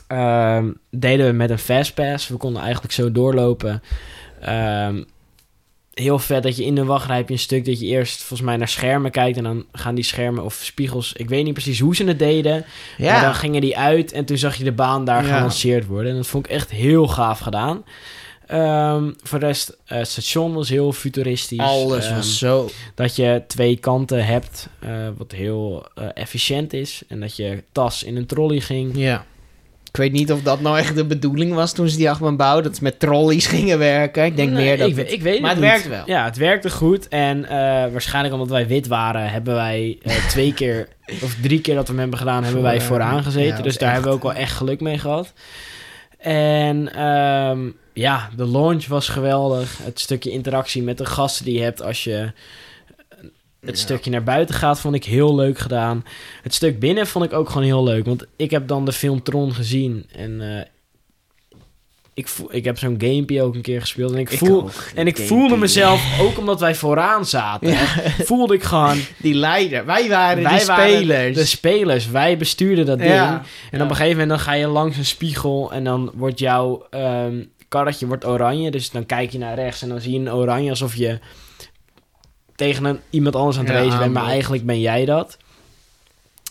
ehm, deden we met een fastpass. We konden eigenlijk zo doorlopen. Ehm, heel vet dat je in de wachtrij heb je een stuk dat je eerst volgens mij naar schermen kijkt. En dan gaan die schermen of spiegels, ik weet niet precies hoe ze het deden. Maar dan
ja.
gingen die uit en toen zag je de baan daar
Ja.
gelanceerd worden. En dat vond ik echt heel gaaf gedaan. Ehm, voor de rest, eh, het station was heel futuristisch.
Alles
Ehm,
was zo...
dat je twee kanten hebt, eh, wat heel eh, efficiënt is. En dat je tas in een trolley ging.
Ja. Ik weet niet of dat nou echt de bedoeling was toen ze die achtbaan bouwden. Dat ze met trolleys gingen werken. Ik denk
Nee,
meer dat...
ik,
het-
we- ik weet
maar
het
het
niet.
werkt wel.
Ja, het werkte goed. En eh, waarschijnlijk omdat wij wit waren, hebben wij eh, twee keer of drie keer dat we hem hebben gedaan, hebben wij
Vooraan.
vooraan gezeten.
Ja, dat
dus
is
daar
echt,
hebben we ook wel echt geluk mee gehad. En ehm, ja, de launch was geweldig. Het stukje interactie met de gasten die je hebt als je het stukje naar buiten gaat, vond ik heel leuk gedaan. Het stuk binnen vond ik ook gewoon heel leuk. Want ik heb dan de film Tron gezien. En eh, ik, voel, ik heb zo'n gamepje ook een keer gespeeld. En ik, voel,
ook.
en ik
Gamepie.
voelde mezelf, ook omdat wij vooraan zaten, voelde ik gewoon...
Die leider. Wij waren
wij
die
waren
spelers.
de spelers. Wij bestuurden dat ding.
Ja.
En op een gegeven moment dan ga je langs een spiegel en dan wordt jouw ehm, karretje wordt oranje. Dus dan kijk je naar rechts en dan zie je een oranje alsof je tegen een, iemand anders aan het
Ja,
racen bent. Maar
aanbod.
eigenlijk ben jij dat.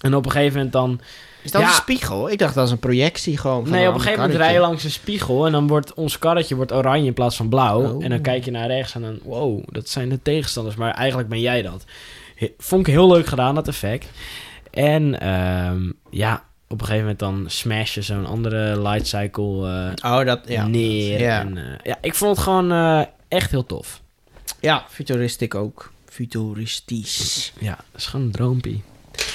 En op een gegeven moment dan...
Is dat
Ja.
een spiegel? Ik dacht dat is een projectie gewoon. van
Nee,
een
op een gegeven moment
karretje.
rij je langs een spiegel en dan wordt ons karretje wordt oranje in plaats van blauw.
Oh.
En dan kijk je naar rechts en dan, wow, dat zijn de tegenstanders. Maar eigenlijk ben jij dat. He- Vond ik heel leuk gedaan, dat effect. En ehm, ja, op een gegeven moment dan smash je zo'n andere light cycle eh,
Oh, dat... Ja.
neer.
Ja.
En, eh, ja, ik vond het gewoon eh, echt heel tof.
Ja, futuristiek ook. Futuristisch.
Ja, dat is gewoon een droompie.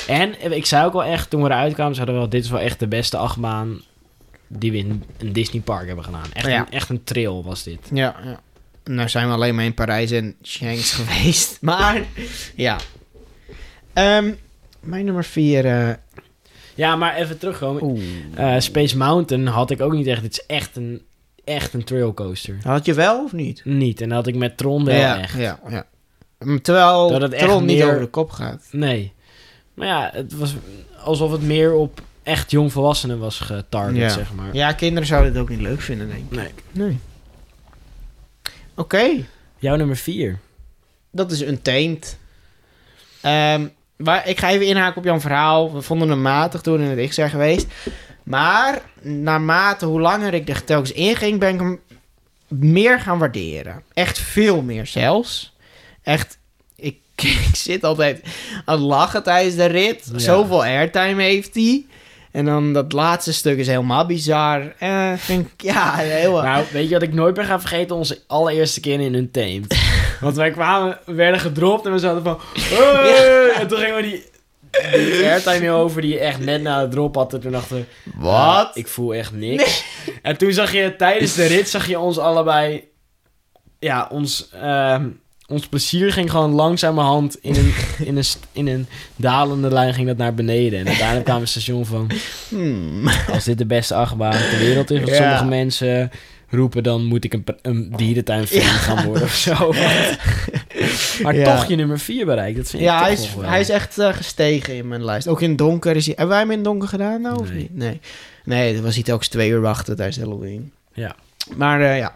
En eh, ik zei ook wel echt, toen we eruit kwamen, zeiden we wel, dit is wel echt de beste achtbaan die we in een Disney park hebben gedaan. Echt,
Ja.
een, echt een trail was dit.
Ja, ja. Nou zijn we alleen maar in Parijs en Shanks geweest. Maar, ja. Ehm, mijn nummer 4.
Ja, maar even terugkomen.
Oeh.
Eh, Space Mountain had ik ook niet echt. Het is echt een, echt een trailcoaster.
Had je wel of niet?
Niet. En dat had ik met Tron wel
ja,
echt.
ja, ja. Mm, Terwijl
Dat het echt
Tron niet
meer-
over de kop gaat.
Nee. Maar ja, het was alsof het meer op echt jongvolwassenen was getarget,
Ja.
zeg maar.
Ja, kinderen zouden het ook niet leuk vinden, denk ik.
Nee.
Nee. Oké,
Jouw nummer 4.
dat is een teent. Ehm, maar ik ga even inhaken op jouw verhaal. We vonden hem matig toen we in het X zijn geweest. Maar naarmate hoe langer ik er telkens in ging, ben ik hem meer gaan waarderen. Echt veel meer zelfs. Echt, ik, ik zit altijd aan het lachen tijdens de rit.
Ja.
Zoveel airtime heeft hij. En dan dat laatste stuk is helemaal bizar. Eh, vind ik, ja, heel...
Nou, weet je wat ik nooit meer ga vergeten? Onze allereerste keer in een teent. Want wij kwamen, we werden gedropt en we zaten van... "Hey!" En toen gingen we die, die airtime heel over die je echt net na de drop had. En toen dachten we... Ah,
Wat?
ik voel echt niks. En toen zag je tijdens de rit, zag je ons allebei... Ja, ons, ehm, ons plezier ging gewoon langzamerhand in een, in, een, st- in een dalende lijn ging dat naar beneden. En uiteindelijk kwamen we het station van...
Hmm.
Als dit de beste achtbaan ter wereld is, wat
Ja.
sommige mensen roepen, dan moet ik een, pr- een dierentuinfilm gaan worden of zo. maar
Ja.
toch je nummer 4 bereikt. Dat vind ik
Ja,
toch
hij is,
nog wel.
hij is echt eh, gestegen in mijn lijst. Ook in het donker is hij... Hebben wij hem in het donker gedaan nou, of
Nee.
niet? Nee. Nee, dat was hij telkens twee uur wachten tijdens Halloween.
Ja.
Maar eh, ja.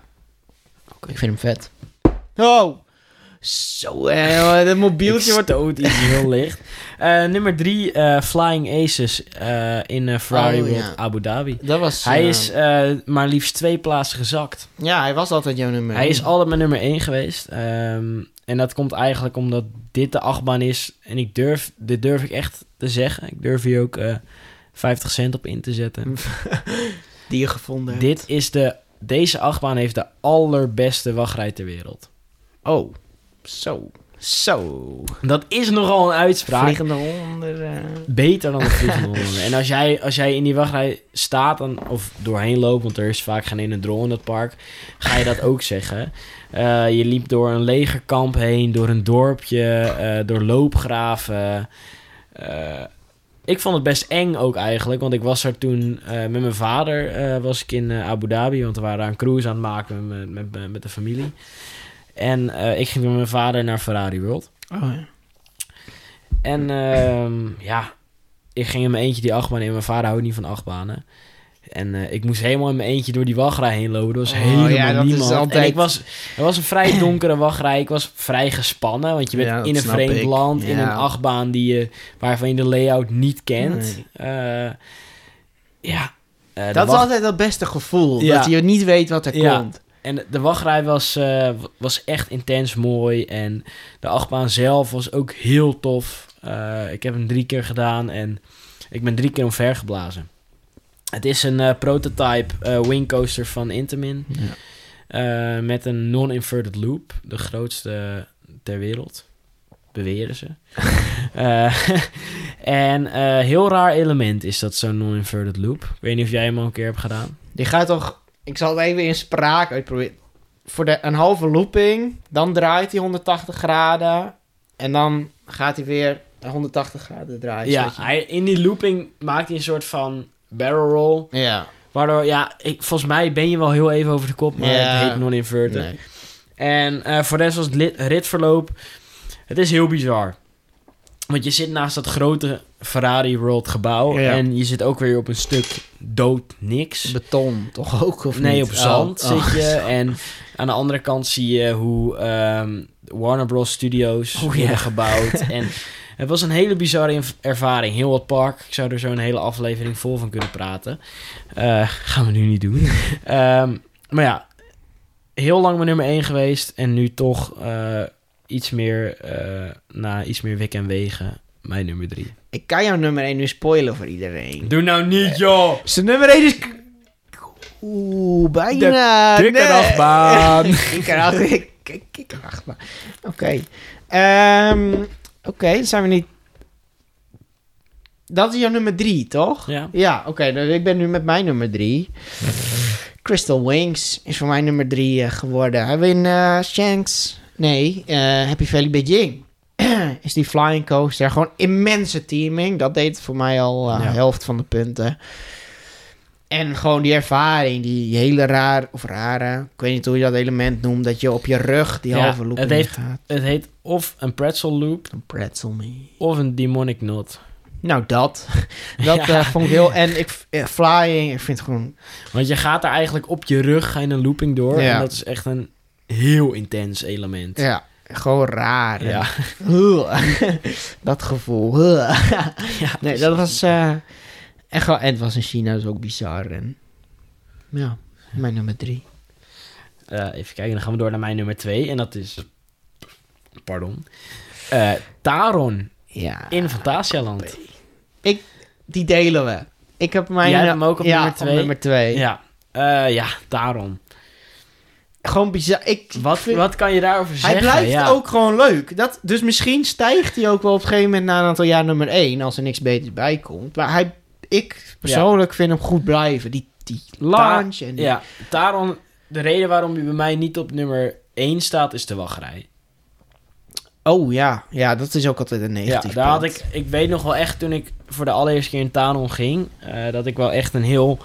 Oké, ik vind hem vet. Oh! Zo, eh, dat mobieltje
Ik
wordt...
stoot iets heel licht. Eh, nummer 3, Flying Aces eh, in eh, Ferrari
Oh,
World
ja.
Abu Dhabi.
Dat was...
Hij
eh,
is eh, maar liefst twee plaatsen gezakt.
Ja, hij was altijd jouw nummer
Hij
één.
is altijd mijn nummer 1 geweest. Ehm, en dat komt eigenlijk omdat dit de achtbaan is. En ik durf, dit durf ik echt te zeggen. Ik durf hier ook eh 50 cent op in te zetten.
die je gevonden hebt.
dit is de, deze achtbaan heeft de allerbeste wachtrij ter wereld.
Oh, zo. Zo.
Dat is nogal een uitspraak.
Vliegende honden. eh.
Beter dan de vliegende honden. En als jij, als jij in die wachtrij staat dan, of doorheen loopt, want er is vaak geen ene drol in het park, ga je dat ook zeggen. Eh, je liep door een legerkamp heen, door een dorpje, eh, door loopgraven. Eh, ik vond het best eng ook eigenlijk, want ik was er toen eh, met mijn vader eh, was ik in eh, Abu Dhabi, want we waren een cruise aan het maken met, met, met, met de familie. En eh, ik ging met mijn vader naar Ferrari World.
Oh, ja.
En ehm, ja, ik ging in mijn eentje die achtbaan in. Mijn vader houdt niet van achtbanen. En eh, ik moest helemaal in mijn eentje door die wachtrij heen lopen. Er was
Oh,
helemaal
ja, dat is
niemand. En
altijd-
ik was, het was een vrij donkere wachtrij. Ik was vrij gespannen. Want je bent
Ja, dat
in een
snap
vreemd
ik.
land, in
Ja.
een achtbaan die je, waarvan je de layout niet kent.
Nee.
Eh, ja. eh, de
Dat is
wacht-
altijd dat beste gevoel.
Ja.
Dat je niet weet wat er
Ja.
komt.
En de wachtrij was, eh, was echt intens mooi. En de achtbaan zelf was ook heel tof. Eh, ik heb hem drie keer gedaan en ik ben drie keer omver geblazen. Het is een eh, prototype eh wingcoaster van Intamin.
Ja.
eh, met een non-inverted loop. De grootste ter wereld. Beweren ze. Eh, en eh, heel raar element is dat zo'n non-inverted loop. Ik weet niet of jij hem al een keer hebt gedaan.
Die gaat toch... Ik zal het even in spraak uitproberen. Voor de, een halve looping. Dan draait hij 180 graden. En dan gaat hij weer 180 graden draaien.
Ja,
zodat je-
hij, in die looping maakt hij een soort van barrel roll.
ja.
Waardoor, ja, ik, volgens mij ben je wel heel even over de kop, maar
Ja.
het heet non-inverted.
Nee.
En eh, voor de rest was het lit- ritverloop, het is heel bizar. Want je zit naast dat grote Ferrari World gebouw
Ja.
en je zit ook weer op een stuk dood niks.
Beton toch ook? Of
nee,
niet?
op zand
Oh, oh.
zit je. En aan de andere kant zie je hoe ehm, Warner Bros. Studios
Oh, ja.
worden gebouwd. en het was een hele bizarre inv- ervaring. Heel wat park. Ik zou er zo een hele aflevering vol van kunnen praten. Eh, gaan we nu niet doen. Ehm, maar ja, heel lang mijn nummer 1 geweest. En nu toch eh, iets meer, eh, na iets meer wik en wegen, mijn nummer 3.
Ik kan jouw nummer 1 nu spoilen voor iedereen.
Doe nou niet, joh!
Zijn nummer 1 is... Oeh, bijna.
De kikkerdagbaan.
Kikkerdagbaan. Kikkerdagbaan. Oké. Ehm, Oké, dan zijn we niet... Dat is jouw nummer 3, toch?
Ja.
oké. dan- ik ben nu met mijn nummer 3. Crystal Wings is voor mij nummer 3 geworden. Hebben we in eh, Shanks... Nee, eh, Happy Valley Beijing. is die flying coaster. Gewoon immense teaming. Dat deed voor mij al eh,
Ja.
helft van de punten. En gewoon die ervaring, die hele raar, of rare, ik weet niet hoe je dat element noemt, dat je op je rug die
Ja,
halve loop
het heeft-
gaat.
Het heet of een pretzel loop
Een pretzel me.
of een demonic knot.
Nou, dat. Dat
Ja.
eh, vond ik heel, en ik, eh, flying, ik vind het gewoon,
Want je gaat er eigenlijk op je rug ga je een looping door.
Ja.
En dat is echt een heel intens element.
ja, gewoon raar. En-
Ja.
dat gevoel.
Ja, dus,
nee, dat was eh, echt wel, en het was in China, dus ook bizar. En, ja, mijn nummer drie.
Eh, even kijken, dan gaan we door naar mijn nummer 2. En dat is... Pardon. Eh, Taron
Ja.
in
Ah,
Fantasialand.
Die delen we. Ik heb mijn...
Jij hebt hem ook op
ja,
nummer twee?
nummer twee.
Ja, Eh, ja Taron.
Gewoon bizar. Ik
Wat,
vind-
wat kan je daarover
Hij
zeggen?
blijft
Ja.
ook gewoon leuk. Dat, dus misschien stijgt hij ook wel op een gegeven moment na een aantal jaar nummer één. Als er niks beters bij komt. Maar hij, ik persoonlijk vind hem goed blijven. Die, die launch en die-
Ja, Taron... De reden waarom hij bij mij niet op nummer 1 staat, is de wachtrij.
Oh ja. Ja, dat is ook altijd een
Ja,
negatief
daar had
punt.
ik... Ik weet nog wel echt toen ik voor de allereerste keer in Taron ging... eh, dat ik wel echt een heel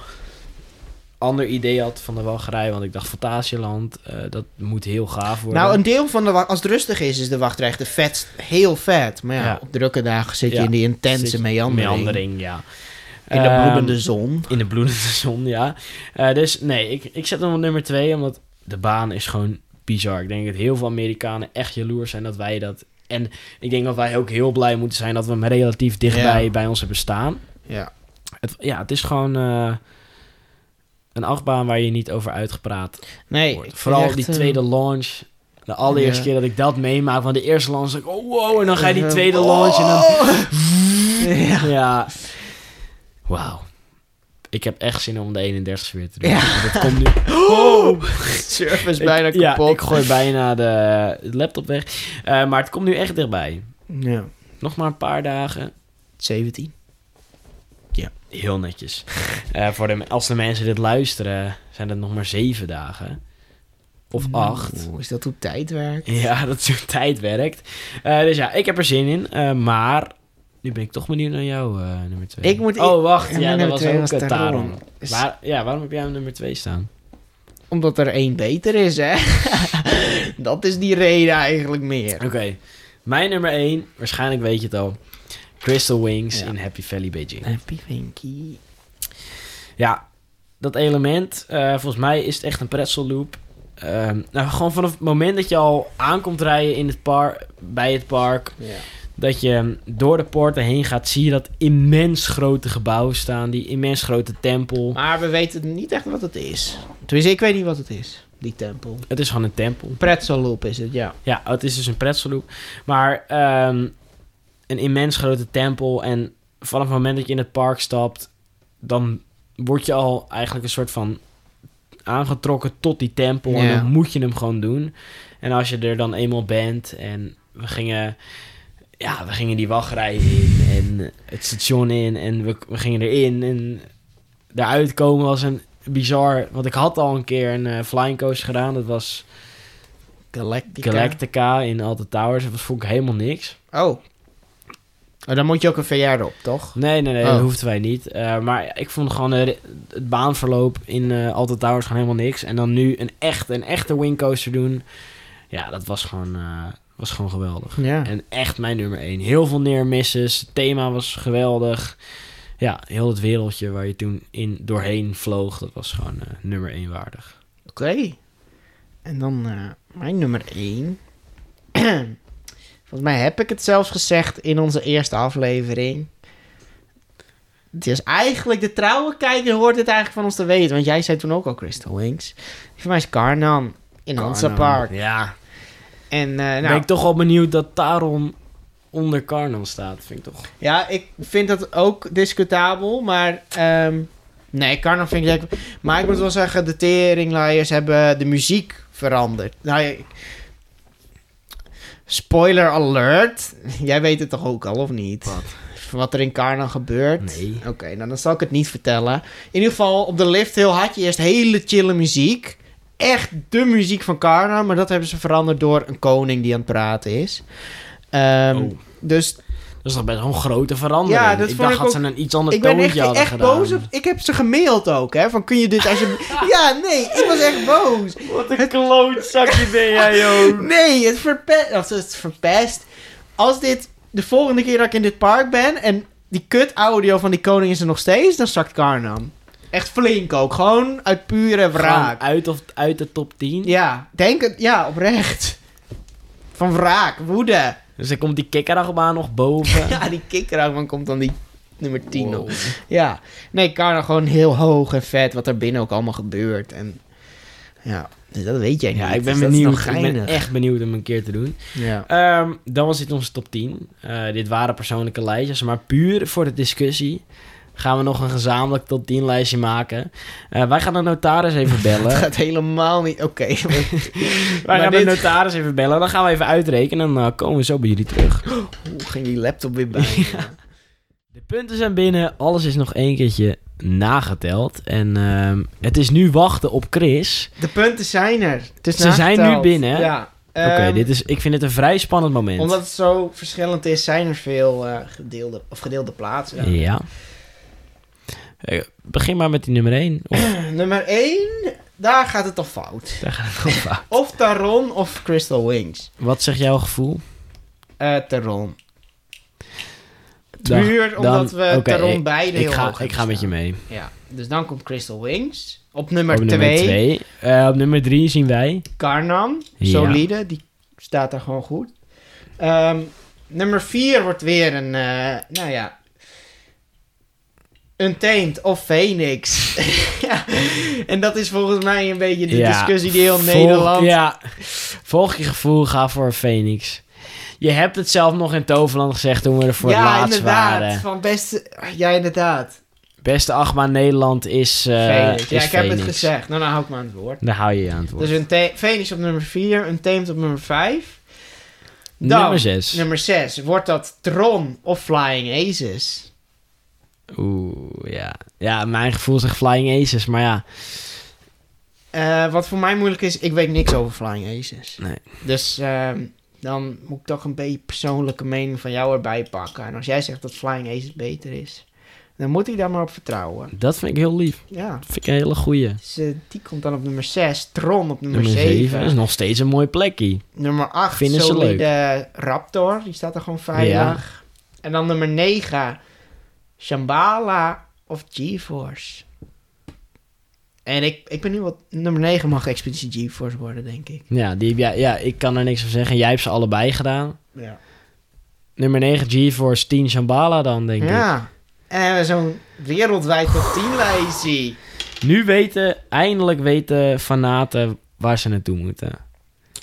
ander idee had van de Walgerij. Want ik dacht, Fantasieland, eh, dat moet heel gaaf worden.
Nou, een deel van de wa- als het rustig is, is de wachtrij echt vet, heel vet. Maar ja,
Ja.
op drukke dagen zit je
Ja.
in die
Zit
intense
je-
meandering.
meandering, ja.
In de
Ehm,
bloedende zon.
In de bloedende zon, ja. Eh, dus nee, ik, ik zet hem op nummer 2, omdat de baan is gewoon bizar. Ik denk dat heel veel Amerikanen echt jaloers zijn dat wij dat... En ik denk dat wij ook heel blij moeten zijn dat we hem relatief dichtbij
Ja.
bij ons hebben staan.
Ja.
Het, ja, het is gewoon eh, een achtbaan waar je niet over uitgepraat
Nee,
wordt.
ik
Vooral
vind echt,
die
eh,
tweede launch. De allereerste
Ja.
keer dat ik dat meemaak, van de eerste launch, dacht ik, oh wow, en dan ga je die
eh,
tweede
oh!
launch en dan...
Ja.
Ja. Wauw. Ik heb echt zin om de 31 weer te doen.
Ja.
Want Dat komt nu.
Oh! Surf is
Ik-
bijna
ja,
kapot.
ik gooi bijna de laptop weg. Eh, maar het komt nu echt dichtbij.
Ja.
Nog maar een paar dagen.
17.
Heel netjes. Eh, voor de, als de mensen dit luisteren, zijn het nog maar zeven dagen. Of
Nou.
acht.
Mm. Oeh, is dat hoe tijd werkt?
Ja, dat zo tijd werkt. Eh, dus ja, ik heb er zin in. eh, maar nu ben ik toch benieuwd naar jou, eh, nummer twee.
Ik moet-
oh,
ik-
wacht.
mijn
Ja, dat
nummer
was
twee
ook
was
eh,
Taron.
Taron.
Is-
Waar- ja, waarom heb jij hem nummer twee staan?
Omdat er één beter is, hè? dat is die reden eigenlijk meer.
Oké, mijn nummer 1, waarschijnlijk weet je het al. Crystal Wings
Ja.
in Happy Valley Beijing.
Happy Vinky.
Ja, dat element, eh, volgens mij is het echt een pretzel loop. Ehm, nou, gewoon vanaf het moment dat je al aankomt rijden in het park, bij het park,
Ja.
dat je door de poorten heen gaat, zie je dat immens grote gebouw staan, die immens grote tempel.
Maar we weten niet echt wat het is. Tenminste, ik weet niet wat het is, die tempel.
Het is gewoon een tempel.
Pretzelloop is het, ja.
Ja, het is dus een pretzelhoek. Maar ehm, een immens grote tempel. En vanaf het moment dat je in het park stapt, dan word je al eigenlijk een soort van aangetrokken tot die tempel. En
Ja.
dan moet je hem gewoon doen. En als je er dan eenmaal bent en we gingen. Ja, we gingen die wachtrij in en het station in en we, we gingen erin en daaruit komen was een bizar... Want ik had al een keer een eh, flying coaster gedaan. Dat was
Galactica.
Galactica in Alta Towers. Dat vond ik helemaal niks.
Oh. Oh, dan moet je ook een VR op, toch?
Nee, nee, nee, dat
Oh.
hoefden wij niet. Eh, maar ik vond gewoon eh, het baanverloop in eh Alta Towers gewoon helemaal niks. En dan nu een, echt, een echte wingcoaster doen. Ja, dat was gewoon, eh, was gewoon geweldig.
Ja.
En echt mijn nummer één. Heel veel neermisses. Het thema was geweldig. Ja, heel het wereldje waar je toen in doorheen vloog, dat was gewoon eh, nummer één waardig.
Oké. En dan eh, mijn nummer 1. Volgens mij heb ik het zelfs gezegd in onze eerste aflevering. Het is eigenlijk de trouwe kijker hoort het eigenlijk van ons te weten. Want jij zei toen ook al Crystal Wings. Voor mij is Karnan in Hansa Park.
Ja.
En eh,
Ben
nou,
ik toch wel benieuwd dat Taron onder Carnan staat, vind ik toch.
ja, ik vind dat ook discutabel. Maar ehm, nee, Karnan vind ik... Maar ik moet wel zeggen, de teringlaaiers hebben de muziek veranderd. Nou, ja, ik- spoiler alert. Jij weet het toch ook al, of niet?
Wat?
Wat er in Karnan gebeurt.
Nee.
Oké, nou dan zal ik het niet vertellen. In ieder geval, op de lift heel had je eerst hele chille muziek. Echt de muziek van Karnan. Maar dat hebben ze veranderd door een koning die aan het praten is. Ehm,
Oh.
Dus
Dat is toch best wel een grote verandering.
Ja, dat
ik
vond
dacht
ik
dat
ook-
ze een iets ander
ik ben
toontje
echt,
hadden
echt
gedaan.
boos op. Ik heb ze gemaild ook, hè? Van kun je dit als je. ja, nee, ik was echt boos.
Wat een klootzakje ben jij, joh.
Nee, het verpest. Of het verpest. Als dit de volgende keer dat ik in dit park ben en die kut audio van die koning is er nog steeds, dan zakt Karnam. Echt flink ook. Gewoon uit pure wraak.
Uit, of, uit de top 10.
Ja, denk het. Ja, oprecht. Van wraak, woede.
Dus dan komt die kikkerachtbaan nog boven.
Ja, die kikker van komt dan die nummer 10 op.
Wow.
Ja, nee, Karna gewoon heel hoog en vet wat er binnen ook allemaal gebeurt. En ja, dus dat weet jij niet.
Ja, ik ben
Dus dat is
benieuwd.
nog
Ik ben
geinig.
echt benieuwd om een keer te doen.
Ja.
Ehm, dan was dit onze top 10. Eh, dit waren persoonlijke lijstjes, maar puur voor de discussie gaan we nog een gezamenlijk top 10 lijstje maken. Eh, wij gaan de notaris even
Het
bellen.
gaat helemaal niet. Oké.
wij
maar
gaan
dit-
de notaris even bellen. Dan gaan we even uitrekenen en dan eh, komen we zo bij jullie terug.
Hoe ging die laptop weer bij? Ja.
De punten zijn binnen, alles is nog één keertje nageteld. En ehm, het is nu wachten op Chris.
De punten zijn er. Het is
Ze zijn
nageteld.
nu binnen, hè?
Ja.
Oké,
Ehm,
dit is, ik vind het een vrij spannend moment.
Omdat het zo verschillend is, zijn er veel eh, gedeelde, of gedeelde plaatsen.
Ja. Eh, begin maar met die nummer 1. Of,
Nummer 1, daar gaat het al fout.
daar gaat het op aan.
Of Taron of Crystal Wings.
ah, Wat zegt jouw gevoel?
Eh Taron.
Dan-
Puur omdat
dan-
we
oké,
Taron
ik-
beide
ik
heel
ga,
hoog
Ik
hebben
ga met je
staan.
mee.
Ja, dus dan komt Crystal Wings. Op nummer
op nummer
2,
2. op nummer 3 zien wij.
Karnam.
Ja.
Solide, die staat daar gewoon goed. Ehm, nummer 4 wordt weer een, eh, nou ja... Untamed of Phoenix. Ja, en dat is volgens mij een beetje de
Ja,
discussie die heel
volg-
Nederland...
Ja, volg je gevoel, ga voor Phoenix. Je hebt het zelf nog in Toverland gezegd toen we er voor het
ja,
laatst
inderdaad.
waren.
Van beste... Ja, inderdaad.
Beste achtbaan Nederland is eh
Phoenix.
is
Ja, ik heb het
Phoenix.
gezegd. Nou, dan hou ik me aan het woord.
Daar hou je je aan het woord.
Dus een Ta- Phoenix op nummer 4, een Tamed op nummer 5. dan-
nummer 6.
Nummer 6, wordt dat Tron of Flying Aces?
Oeh, ja. Ja, mijn gevoel zegt Flying Aces, maar ja.
Eh, wat voor mij moeilijk is, ik weet niks over Flying Aces.
Nee.
Dus ehm, dan moet ik toch een beetje persoonlijke mening van jou erbij pakken. En als jij zegt dat Flying Aces beter is, dan moet ik daar maar op vertrouwen.
Dat vind ik heel lief.
Ja,
Dat vind ik een hele goeie.
dus, eh, die komt dan op nummer 6, Tron op nummer,
Nummer 7. Dat is
7.
nog steeds een mooi plekje.
Nummer 8,
Vinden ze
solide Raptor. Die staat er gewoon veilig. En dan nummer 9, Shambhala of GeForce. En ik, ik ben nu wat... Nummer 9 mag Expeditie GeForce worden, denk ik.
Ja, die, heb jij- ja, ik kan er niks van zeggen. Jij hebt ze allebei gedaan.
Ja.
Nummer 9 GeForce 10 Shambhala dan, denk ik. Oh.
ja. En zo'n wereldwijd top 10 lijstje.
Nu weten, eindelijk weten fanaten waar ze naartoe moeten.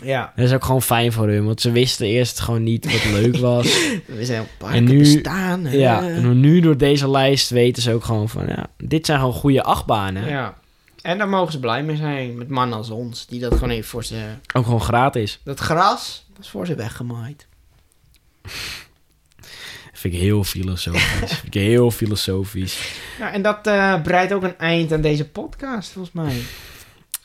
Ja.
Dat is ook gewoon fijn voor hun, want ze wisten eerst gewoon niet wat leuk was.
We zijn op
En
parken
nu-
bestaan. hè.
ja, en nu door deze lijst weten ze ook gewoon van, ja, dit zijn gewoon goede achtbanen.
ja. En daar mogen ze blij mee zijn. Met mannen als ons. Die dat gewoon even voor ze...
Ook gewoon gratis.
Dat gras, dat is voor ze weggemaaid.
Vind ik heel filosofisch. Vind ik heel filosofisch.
Ja, en dat eh, breidt ook een eind aan deze podcast, volgens mij.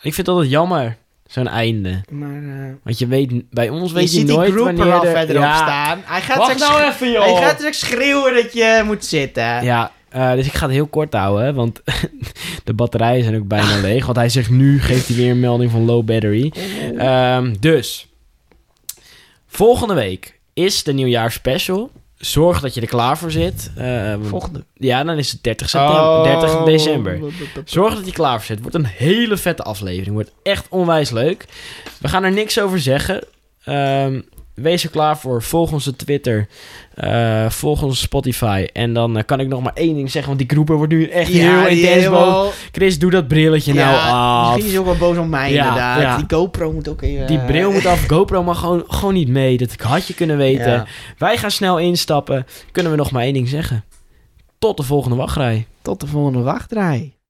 Ik vind het altijd jammer, zo'n einde.
Maar eh
Want je weet, bij ons
je,
weet je,
ziet
nooit
die groep
wanneer
er al
de-
verder
ja,
op staan. Hij gaat,
Wacht nou
straks, schreeuwen-
even, joh.
hij gaat straks schreeuwen dat je moet zitten.
Ja, eh, dus ik ga het heel kort houden, hè, want de batterijen zijn ook bijna leeg. Want hij zegt nu, geeft hij weer een melding van low battery. Ehm, dus, volgende week is de nieuwjaarsspecial. Zorg dat je er klaar voor zit. Eh,
Volgende.
ja, dan is het 30, september,
Oh.
30 december. Zorg dat je klaar voor zit. Wordt een hele vette aflevering. Wordt echt onwijs leuk. We gaan er niks over zeggen. Ehm, wees er klaar voor. Volg onze Twitter. Eh volg onze Spotify. En dan eh, kan ik nog maar één ding zeggen. Want die groepen wordt nu echt heel
die
intens boos.
helemaal-
Chris, doe dat brilletje nou
Ja,
af.
Misschien is hij ook wel boos om mij,
Ja,
inderdaad.
ja.
Die GoPro moet ook even... eh,
Die bril moet af. GoPro mag gewoon, gewoon niet mee. Dat had je kunnen weten.
Ja.
Wij gaan snel instappen. Kunnen we nog maar één ding zeggen. Tot de volgende wachtrij.
Tot de volgende wachtrij.